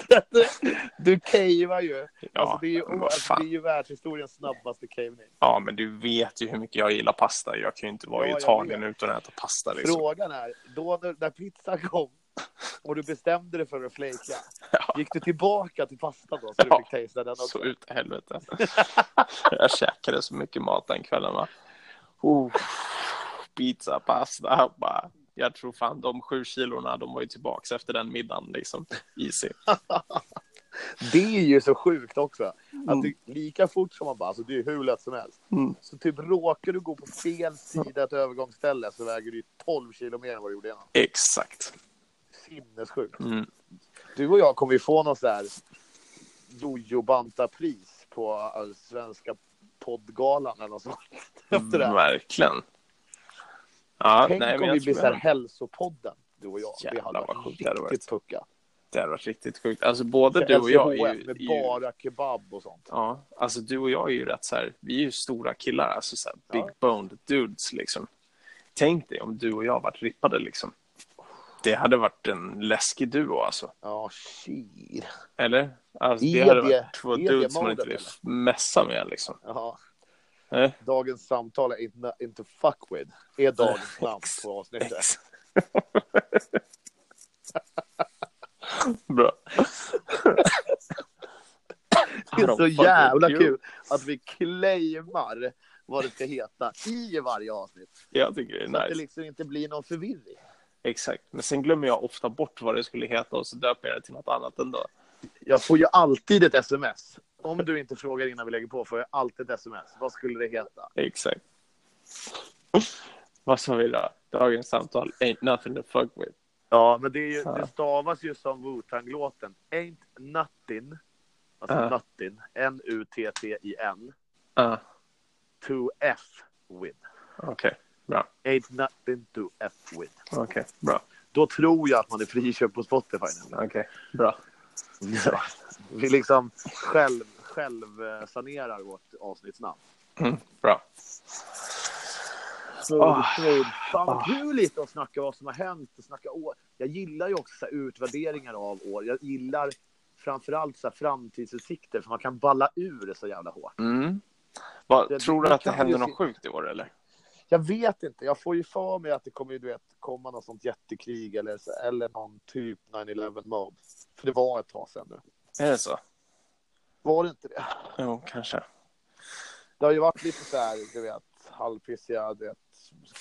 Du cavear ju. ja, alltså, det, är ju vad alltså, det är fan. ju världshistoriens snabbaste caving. ja, men du vet ju hur mycket jag gillar pasta. Jag kan ju inte vara Ja, i jag Italien utan att äta pasta. Liksom. Frågan är, då när, när pizzan kom och du bestämde dig för att flejka, Ja. gick du tillbaka till pastan då så du Ja. fick tastea den också? Så ut i helvete. jag käkade så mycket mat den kvällen. Va? Oh, pizza, pasta. Bara. Jag tror fan de sju kilorna, de var ju tillbaka efter den middagen. Liksom. Easy. Det är ju så sjukt också. Att Mm. du, lika fort som man bara, alltså det är hur lätt som helst. Mm. Så typ råkar du gå på fel sida ett övergångsställe så väger du ju 12 kilo mer än vad du gjorde innan. Exakt. Sinnessjukt. Mm. Du och jag kommer ju få någon sån här jojo-banta-pris på alltså, Svenska poddgalan eller något sånt. Efter det här. Verkligen. Ja, Tänk Mm, nej, men om vi jag blir tror så jag- här hälsopodden, du och jag. det Jävlar, hade vad varit sjukt det hade riktigt puckat. Det hade varit riktigt sjukt. Alltså både du och jag är ju... med Är ju bara kebab och sånt. ja, alltså du och jag är ju rätt så här, vi är ju stora killar, alltså så här big Ja. boned dudes liksom. Tänk dig om du och jag varit rippade liksom. Det hade varit en läskig duo alltså. Ja, shit. Eller? Alltså, det Är hade det- varit två är det dudes man inte modet, vill messa med liksom. Eh? Ja. Nej. Dagens samtal är inte, inte fuck with. Är dagens namn på avsnittet. Ex. Bra. Det är så jävla Jo, kul att vi claimar vad det ska heta i varje avsnitt. Jag tycker det är Så att det nice. liksom inte blir någon förvirring. Exakt, men sen glömmer jag ofta bort vad det skulle heta och så döper jag det till något annat ändå. Jag får ju alltid ett sms. Om du inte frågar innan vi lägger på får jag alltid ett sms. Vad skulle det heta? Exakt. vad sa vi då? Dagens samtal, ain't nothing to fuck with. Ja, men det, är ju, Ja. det stavas ju som Wu-Tang-låten. Ain't nothing. Alltså Ja. nothing. N-U-T-T-I-N. Ah, To F with. Okej, bra. Ain't nothing to F with. Okej, bra. Då tror jag att man är friköpt på Spotify. nämligen. Okej, bra. Ja. Vi liksom själv, själv eh, sanerar vårt avsnittsnamn. Bra. Oh. Ah. Fan vad Ah. kul lite att snacka vad som har hänt och snacka år. Jag gillar ju också så här utvärderingar av år. Jag gillar framförallt så här framtidsutsikter för man kan balla ur det så jävla hårt. Mm. Vad, Det- tror du det att det kan händer ju något se- sjukt i år eller? Jag vet inte. Jag får ju för mig att det kommer ju, du vet, komma något sånt jättekrig eller, så- eller någon typ 9-11 mob. För det var ett tag sedan nu. Är det så? Var det inte det? Jo, kanske. Det har ju varit lite så här, du vet, halvpissiga, du vet,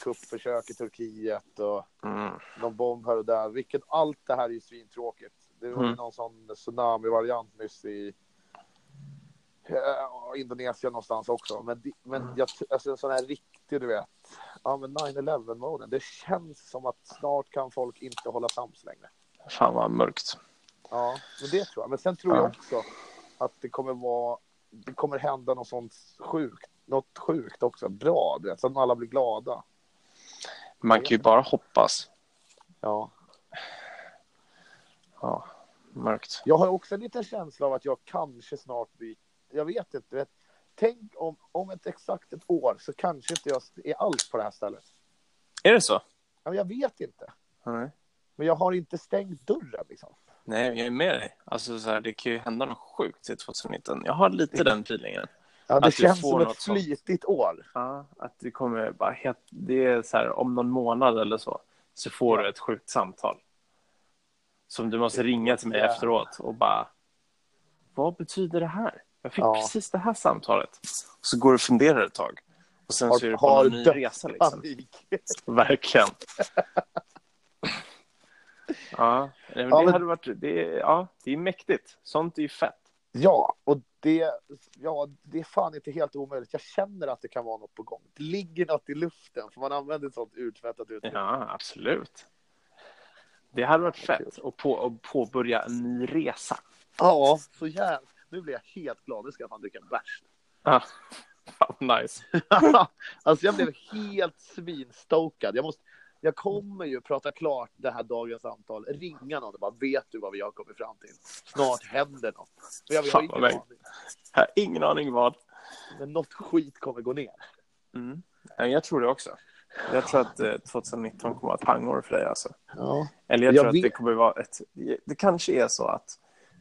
kuppförsök i Turkiet och Mm. någon bomb här och där. Vilket, allt det här är ju svintråkigt. Det var ju Mm. någon sån tsunami-variant nyss i eh, Indonesien någonstans också. Men, det- men jag, alltså en sån här riktig, du vet, ja men 9-11-moden. Det känns som att snart kan folk inte hålla sams längre. Fan vad mörkt. Ja, men det tror jag. Men sen tror Ja. jag också att det kommer vara, det kommer hända något sånt sjukt, något sjukt också, bra, du vet, så att alla blir glada. Man kan ju bara hoppas. Ja. Ja, mörkt. Jag har också en liten känsla av att jag kanske snart blir, jag vet inte, du vet, tänk om, om ett exakt ett år så kanske inte jag är alls på det här stället. Är det så? Ja, men jag vet inte, Nej. men jag har inte stängt dörren liksom. Nej, jag är med dig. Alltså, så här, det kan ju hända något sjukt i 2019. Jag har lite den feelingen. Ja, det Att du känns får som något ett sånt. flitigt år. Ja, att det kommer bara helt... Det är så här, om någon månad eller så, så får du ett sjukt samtal. Som du måste ringa till mig Ja. efteråt och bara... Vad betyder det här? Jag fick Ja. precis det här samtalet. Och så går du och funderar ett tag. Och sen så är du på har någon ny dött resa. Liksom. Panik. Verkligen. ja, nej, men Ja, det men- hade varit... Det är, ja, det är mäktigt. Sånt är ju fett. Ja, och det, ja, det är fan inte helt omöjligt. Jag känner att det kan vara något på gång. Det ligger något i luften, för man använder ett sånt uttvättat uttryck. Ja, absolut. Det hade varit fett att, på, att påbörja en ny resa. Ja, så jävla... Nu blir jag helt glad. Nu ska jag fan dricka en bärs. Ja, fan vad nice. alltså, jag blev helt svinstokad. Jag, måste, jag kommer ju prata klart det här dagens samtal, ringa någon och bara vet du vad vi har kommit fram till? Snart händer något. Men jag har Fan, vad ingen mäktigt. aning. Jag har ingen aning vad. Men något skit kommer gå ner. Mm. Jag tror det också. Jag tror att eh, 2019 kommer att vara ett pangår för dig. Alltså. Ja. Eller jag, Jag tror att vet- det kommer vara ett... Det kanske är så att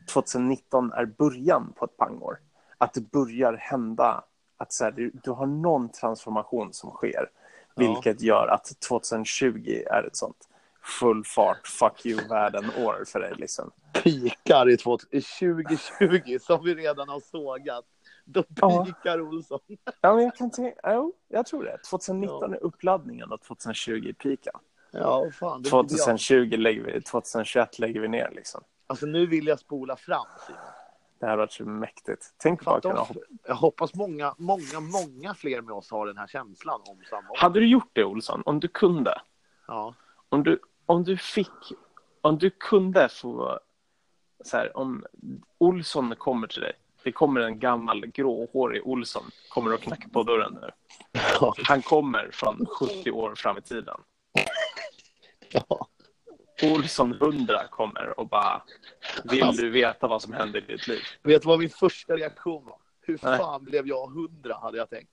2019 är början på ett pangår. Att det börjar hända, att så här, du, du har någon transformation som Ja. sker. Vilket gör att 2020 är ett sånt full fart, fuck you-världen-år för dig. Liksom. pikar i två- i 2020 som vi redan har sågat. Då Ja. pikar Olsson. Ja, men jag, kan tänka, jo, jag tror det. 2019 är uppladdningen och 2020 är piken. Ja, fan. Det vill jag. 2020 lägger vi, 2021 lägger vi ner liksom. Alltså nu vill jag spola fram. Simon. Det här har varit så mäktigt. Tänk bara Fatta kunna oss. hoppa. Jag hoppas många, många, många fler med oss har den här känslan om samma år. Hade du gjort det Olsson, om du kunde? Ja. Om du, om du fick, om du kunde få, så här, om Olsson kommer till dig. Det kommer en gammal gråhårig Olsson, kommer och knackar på dörren nu. Ja. Han kommer från 70 år fram i tiden. Ja. Olsson 100 kommer och bara, vill Alltså. du veta vad som hände i ditt liv? Vet du vad min första reaktion var? Hur Nej. fan blev jag hundra, hade jag tänkt.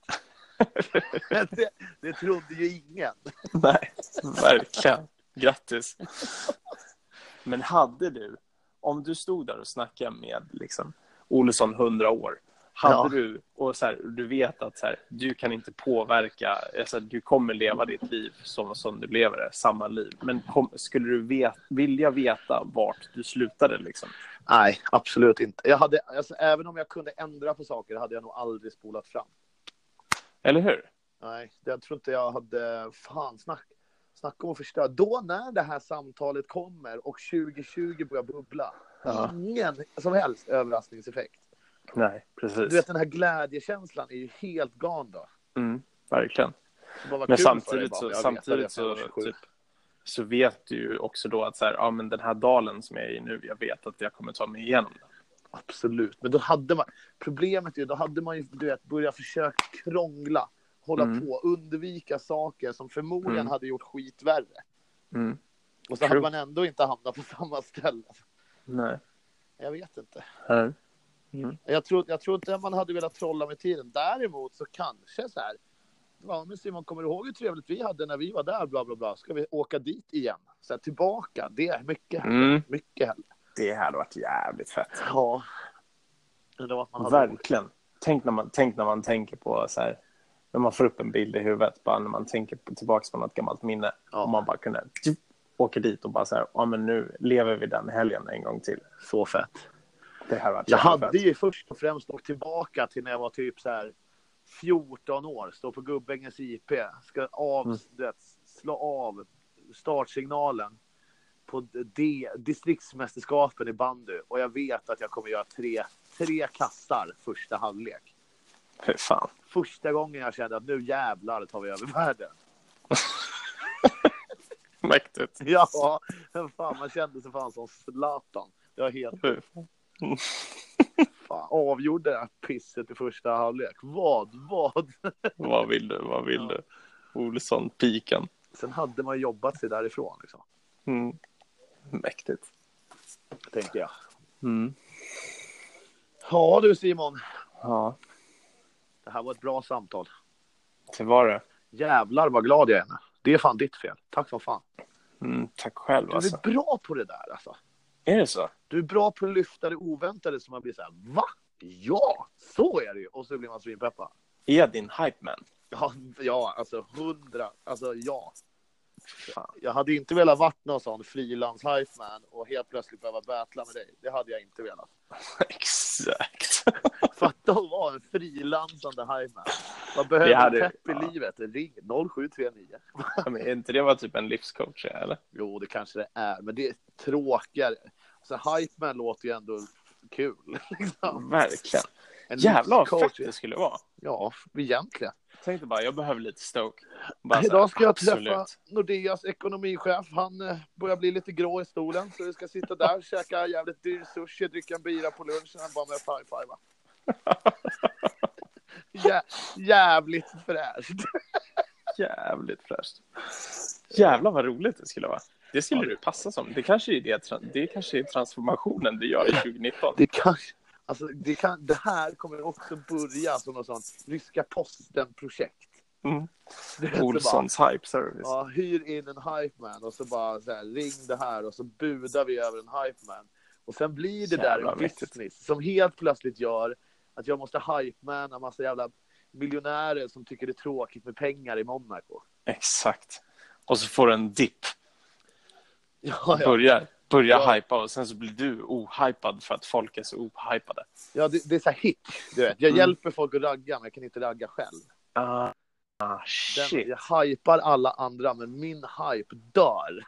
Men det, det trodde ju ingen. Nej, verkligen. Grattis. Men hade du, om du stod där och snackade med liksom, Olsson 100 år, hade Ja. du, och så här, du vet att så här, du kan inte påverka, alltså, du kommer leva ditt liv som, som du lever det, samma liv. Men kom, skulle du vet, vilja veta vart du slutade liksom? Nej, absolut inte. Jag hade, alltså, även om jag kunde ändra på saker hade jag nog aldrig spolat fram. Eller hur? Nej, det- jag tror inte jag hade... Fan, snack, snack om att förstöra. Då när det här samtalet kommer och 2020 börjar bubbla. Ja. Ingen som helst överraskningseffekt. Nej, precis. Du vet, den här glädjekänslan är ju helt gone då. Mm, verkligen. Så bara, vad Men kul för dig, samtidigt, bara, så, jag vet, jag samtidigt vet, jag så, var 27. typ, så vet du ju också då att så här, ja, men den här dalen som jag är i nu, jag vet att jag kommer ta mig igenom den. Absolut, men då hade man... Problemet är ju, då hade man ju du vet, börjat försöka krångla. Hålla Mm. på, undvika saker som förmodligen Mm. hade gjort skit värre. Och så True. hade man ändå inte hamnat på samma ställe. Nej. Jag vet inte. Mm. Jag tror, jag tror inte man hade velat trolla med tiden. Däremot så kanske så här. Ja, men Simon, kommer du ihåg hur trevligt vi hade när vi var där? Bla, bla, bla. Ska vi åka dit igen? Så här, tillbaka. Det är mycket, Mm. mycket hellre. Det hade varit jävligt fett. Ja. Det var att man hade... Verkligen. Tänk när, man, tänk när man tänker på så här, när man får upp en bild i huvudet, bara när man tänker på, tillbaka på något gammalt minne. Ja. Om man bara kunde tjup, åka dit och bara så här, ja men nu lever vi den helgen en gång till. Så fett. Det här var Jag hade ju först och främst åkt tillbaka till när jag var typ så här 14 år, står på Gubbängens IP, ska av, du vet, slå av startsignalen på D, distriktsmästerskapen i bandy och jag vet att jag kommer göra tre, tre kassar första halvlek. Fy fan. Första gången jag kände att nu jävlar tar vi över världen. Mäktigt. Ja, fan, man kände sig fan som Zlatan. Jag är helt Fy fan. fan, avgjorde det här pisset i första halvlek. Vad, vad? Vad vill du? Vad vill Ja. du? Olsson, piken. Sen hade man jobbat sig därifrån, liksom, Mm. Mäktigt. tänker jag. Mm. Ja du Simon, Ja, det här var ett bra samtal. det var det. Jävlar vad glad jag är nu. Det är fan ditt fel. Tack som fan. Mm, tack själv Du alltså. är bra på det där alltså. Är det så? Du är bra på att lyfta det oväntade som man blir så här, va? Ja, så är det ju. Och så blir man svinpeppad. Är jag din hype man? Ja, ja, alltså hundra, alltså ja. Fan. Jag hade inte velat varit någon sån frilans man och helt plötsligt behöva battla med dig. Det hade jag inte velat. Exakt. Fatta att vara en frilansande hypeman. Vad behöver Det hade- en pepp i ja. livet? Ring 0739. Ja, men är inte det var typ en livscoach eller? Jo, det kanske det är, men det är tråkigare. Alltså, Hypeman låter ju ändå kul. Liksom. Verkligen. En Jävlar vad livscoach fett är- det skulle vara. Ja, egentligen. Jag tänkte bara, jag behöver lite stoke. Bara så här, Idag ska jag träffa absolut. Nordeas ekonomichef. Han eh, börjar bli lite grå i stolen, så vi ska sitta där, käka jävligt dyr sushi, dricka en bira på lunchen, och bara med high-fiva. Jä- jävligt fräscht. Jävligt fräscht. Jävlar vad roligt det skulle vara. Det skulle Ja. du passa som. Det kanske är, det, tra- det kanske är transformationen du gör i 2019. Det kanske... Alltså, det, kan, det här kommer också börja som något sånt ryska posten-projekt. Mm. Det är så bara- Olssons hype service. Ja, hyr in en hypeman och så bara så här, ring det här och så budar vi över en hypeman. Och sen blir det där Jävlar, en mäktigt. business som helt plötsligt gör att jag måste hypemana massa jävla miljonärer som tycker det är tråkigt med pengar i Monaco. Exakt. Och så får du en dipp. Ja, ja. Börjar, börjar Ja. hypa och sen så blir du ohypad för att folk är så ohypade. ja det, det är så här hitch, du vet. Jag Mm. hjälper folk att ragga, men jag kan inte ragga själv. Ah, ah Den, shit. jag hypar alla andra, men min hype dör.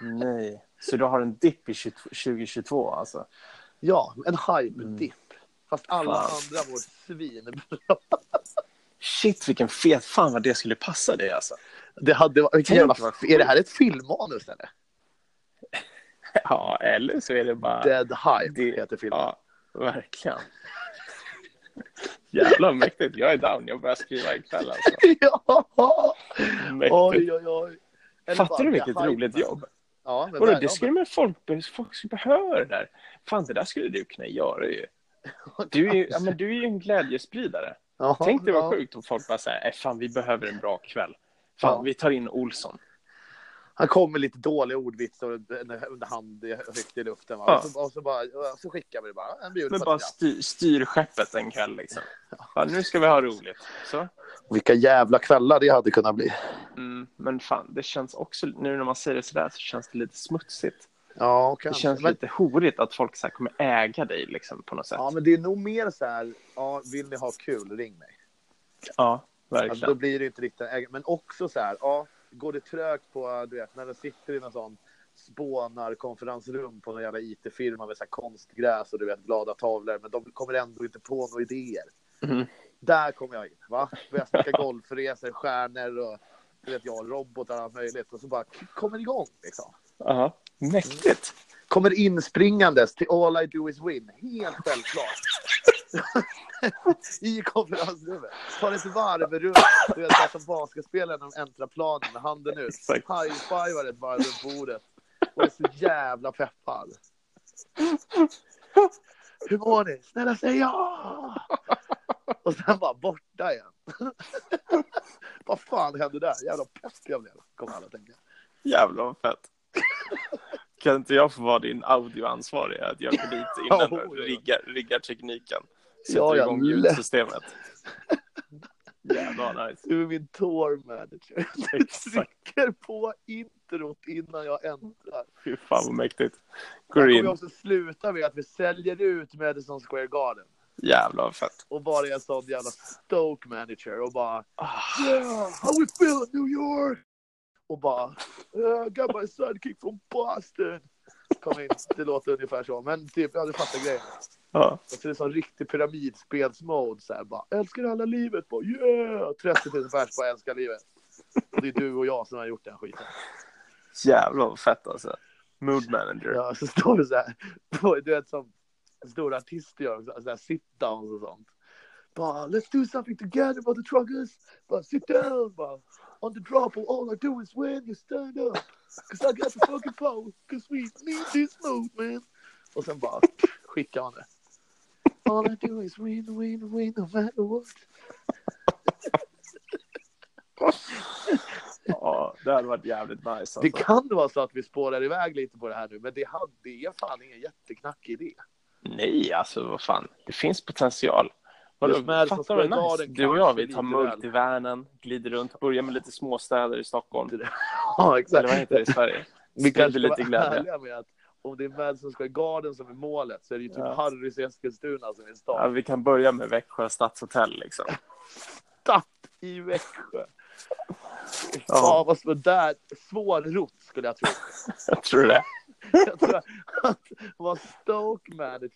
Nej. Så du har en dipp i 20- 2022 alltså? Ja, en hype-dipp. Fast alla Fan. andra mår svin. Shit, vilken fet. Fan vad det skulle passa dig alltså. Det hade varit... vilken Tänk jävla- vad sjukt. Är det här ett filmmanus eller? Ja, eller så är det bara... Dead Hype det- heter filmen. Ja, verkligen. Jävla mäktigt. Jag är down. Jag börjar skriva ikväll alltså. Ja! Mäktigt. Oj, oj, oj. Eller bara, Fattar du det vilket är hype, roligt men- jobb? Ja, men Vadå, verkligen. det skulle man folk, be- folk skulle behöva det där. Fan, det där skulle du kunna göra ju. Du är ju, ja, men du är ju en glädjespridare. Jaha, Tänk dig ja. vad sjukt om folk bara säger, "Eh, fan vi behöver en bra kväll. Fan, Ja. vi tar in Olsson. Han kom med lite dåliga ordvitsar under under hand i- högt i luften. Va? Ja. Och, så, och så, bara, och så skickar vi det bara. En bjud Men på bara ett grabb. styr, styr skeppet en kväll liksom. Ja, nu ska vi ha roligt. Så. Vilka jävla kvällar det hade kunnat bli. Mm, men fan, det känns också, nu när man säger det sådär så känns det lite smutsigt. Ja, Det kanske. känns men, lite horigt att folk så här kommer äga dig liksom, på något sätt. ja, Ja, men det är nog mer så här, ja, vill ni ha kul, ring mig. Alltså, verkligen. då blir det inte riktigt en ägare. Men också så här, ja, går det trögt på, du vet, när du sitter i någon sån spånarkonferensrum på någon jävla IT-firma med så här konstgräs och du vet, glada tavlor, men de kommer ändå inte på några idéer. Mm. Där kommer jag in, va? Börjar snacka golfresor, stjärnor och du vet jag, robotar och allt möjligt. Och så bara kommer igång, liksom. Ja, mäktigt. Kommer inspringandes till All I Do Is Win, helt självklart. I konferensrummet. Tar ett varv runt, du vet, som basketspelaren när de äntrar planen med handen ut. Exakt. High-fivar ett varv runt bordet. Och är så jävla peppad. Hur mår ni? Snälla säg ja! Och sen bara borta igen. Vad fan hände där? Jävla pest jag blev. Kommer alla att tänka. Jävlar vad fett. Kan inte jag få vara din audioansvarige? Att jag går dit innan Oh, och ja. riggar, riggar tekniken. Ja, Sätter ja, igång lätt. ljudsystemet. Jävlar vad nice. Du är min tour manager. Du Exakt. trycker på introt innan jag äntrar. Fy fan vad mäktigt. Sen Går kommer jag in. också sluta med att vi säljer ut Madison Square Garden. Jävlar vad fett. Och bara är en sån jävla Stoke manager och bara Ah, Yeah, how we feel in New York! Och bara, "Yeah, I got my sidekick from Boston. Kom in, det låter ungefär så. Men typ, ja du fattar grejen. Ja. Och så är det sån riktig pyramidspelsmode så här bara, älskar alla livet? Bara, yeah! 30 000 pers bara älskar livet. Och det är du och jag som har gjort den skiten. Jävlar vad fett alltså. Mood manager. Ja, så står det så här, på- du vet som stora artister gör, så så här sit-downs och sånt. Bara, let's do something together about the truckers. Bara, sit down, bara. On the drop, all I do is win, you stand up. Cause I got the fucking power, cause we need this movement. Och sen bara skickar man det. All I do is win, win, win, no matter what. Ja, det hade varit jävligt nice. Alltså. Det kan vara så att vi spårar iväg lite på det här nu, men det hade det är fan ingen jätteknackig idé. Nej, alltså vad fan. Det finns potential. Vadå, Just med som fattar ska du ta vad den nice? Du och kanske jag, vi lite tar mugg väl. till Vänern, glider runt, börjar med lite småstäder i Stockholm. Ja, Eller vad heter det i Sverige? Vi kanske Sprider lite lite glädje. ärliga med att om det är Madison Square Garden som är målet så är det ju typ Ja. Harrys i Eskilstuna som är Ja, stad. vi kan börja med Växjö stadshotell liksom. I Växjö. Ja. Ja, vad som är där. Svår rutt skulle jag tro. Jag tror det. Jag tror att vara Stoke manager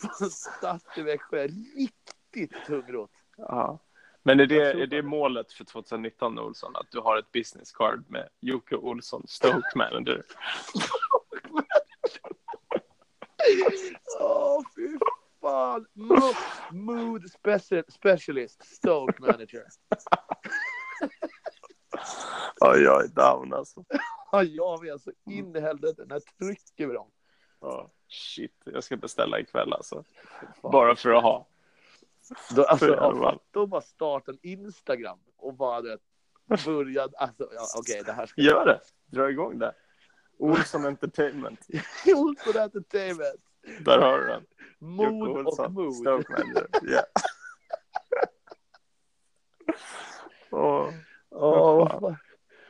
på en stad i Växjö är riktigt tung rutt. Ja. Men är Jag det, tror är det fan det. målet för 2019 Olsson? Att du har ett business card med Jocke Olsson, Stoke Manager? Åh, fy fan. Mood, mood speci- specialist, Stoke manager. Oj, oj, down alltså. Ja, jag vet så in i helvete. När trycker vi dem? Ja. Shit, jag ska beställa ikväll alltså. Fan. Bara för att ha. Då, alltså, För ja, jävlar. fatta att bara starta en Instagram och bara du vet, börja, alltså ja, okej det här ska Gör det! Dra igång det. Olsson Entertainment. Olsson Entertainment, Där har du den. Jocke mod och Olsson, mood. Stoke Manager. Yeah. Åh. Åh, vad fan.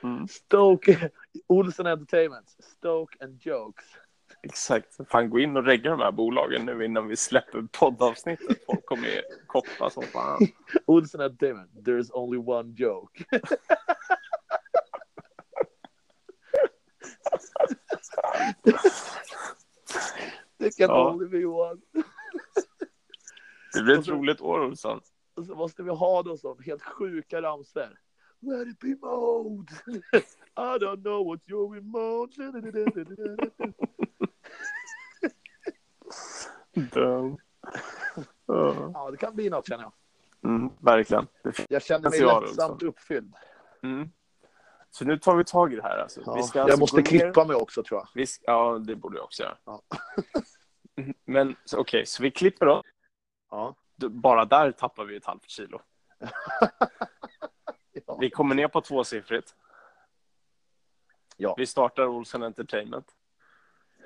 Mm. Stoke, Olsson Entertainment, Stoke and Jokes. Exakt. Fan, gå in och regga de här bolagen nu innan vi släpper poddavsnittet. Folk kommer ju koppa som fan. Olsson Entertainment, there's only one joke. Det kan Ja. only be one. Det blir ett roligt år, Olsson. Och så måste vi ha någon sån helt sjuka ramsor. Let it be mode. I don't know what you're in mode. Dum. Ja. Ja, det kan bli något känner jag. Mm, verkligen. Det Jag känner mig Potential lättsamt också. uppfylld. Mm. Så nu tar vi tag i det här. Alltså. Vi ska alltså jag måste gå ner- klippa mig också tror jag. Vi ska... Ja, det borde jag också göra. Ja. Men så- okej, så vi klipper då. Ja. D- Bara där tappar vi ett halvt kilo. Ja. Vi kommer ner på tvåsiffrigt. Ja. Vi startar Olsen Entertainment.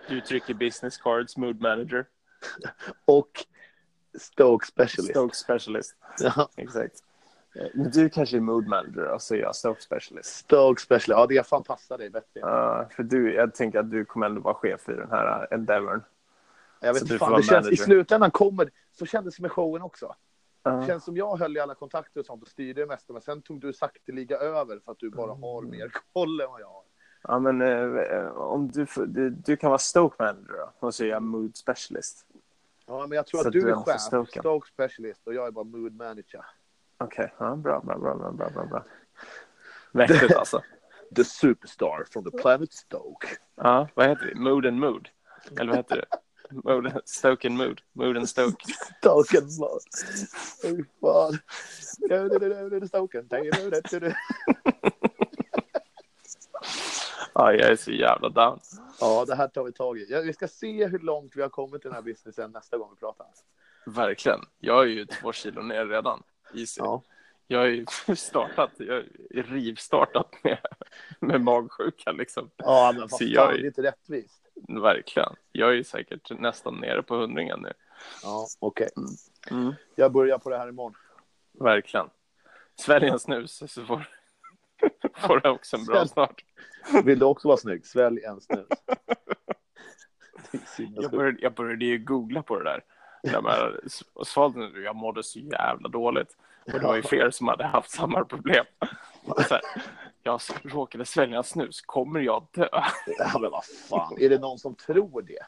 Du trycker business cards, mood manager, Och Stoke specialist. stoke specialist. Ja. Exakt. Eh, Men du kanske är mood manager och så är jag stoke specialist. Stoke specialist. Ja, det fan passar dig bättre. Eh, för du, jag tänker att du kommer ändå vara chef i den här eh, endeavorn. jag så vet du inte får fan, vara det känns, i manager. slutändan kommer, så kändes det med showen också. Eh, känns som jag höll i alla kontakter och sånt och styrde det mesta. Men sen tog du sakteliga över för att du Mm. bara har mer koll än vad jag har. ja, men eh, eh, om du, får- du, du kan vara stoke manager då, och så är jag mood specialist. Ja, men jag tror Så att du du är är alltså chef, Stoken. Stoke specialist och jag är bara mood manager. Okej, ja, bra, bra, bra, bra, bra, bra, bra. Mäktigt alltså. The superstar from the planet Stoke. Ja, vad heter det? Mood and Mood? Eller vad heter det? Mood, stoke and Mood. Mood and Stoke. Stoken var... Fy fan. Du, du, du, du, du, Stoken. Du, du, du, du, du. Ja, jag är så jävla down. Ja, det här tar vi tag i. Ja, vi ska se hur långt vi har kommit i den här businessen nästa gång vi pratar. Verkligen. Jag är ju två kilo ner redan. Easy. Ja. Jag är ju startat, jag är rivstartat med, med magsjuka liksom. Ja, men vad Så fan, det jag är- är inte rättvist. Verkligen. Jag är ju säkert nästan nere på hundringen nu. Ja, okej. Mm. Jag börjar på det här imorgon. Verkligen. Svälj en snus så får, får du också en bra Svälj. start. Vill du också vara snygg? Svälj en snus. Det är Jag sinnessjukt. började, jag började ju googla på det där. Det med svalt nu, jag mådde så jävla dåligt. Och det var ju fler som hade haft samma problem. Så här, jag råkade svälja en snus, kommer jag dö? Ja, men vad fan. Är det någon som tror det?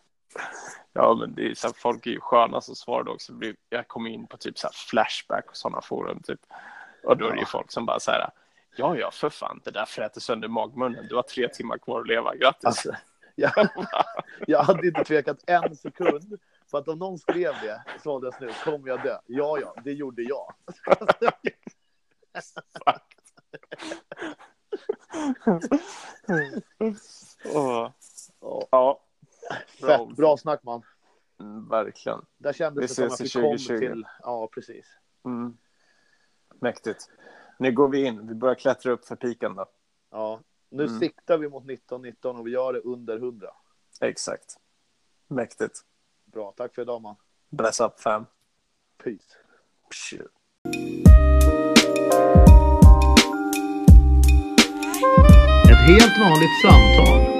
Ja, men det är så här, folk är ju sköna som svarade också. Det blev- Jag kom in på typ så här Flashback och sådana forum typ. Och då är det ju folk som bara så här. Ja, ja, för fan, det där fräter sönder magmunnen. Du har tre timmar kvar att leva. Grattis. Alltså, jag, jag hade inte tvekat en sekund. För att om någon skrev det, svalde jag snus, kommer jag dö? Ja, ja, det gjorde jag. Åh. Ja, Ja, Alltså, fett bra snack, man. mm, verkligen. Där Vi kändes det ses som att i vi kom 2020. till... Ja, precis. Mm. Mäktigt. Nu går vi in. Vi börjar klättra upp för piken då. Ja. Nu Mm. siktar vi mot 19-19 och vi gör det under 100. Exakt. Mäktigt. Bra, tack för idag, man. Bless up fam. Peace. Psh. Ett helt vanligt samtal.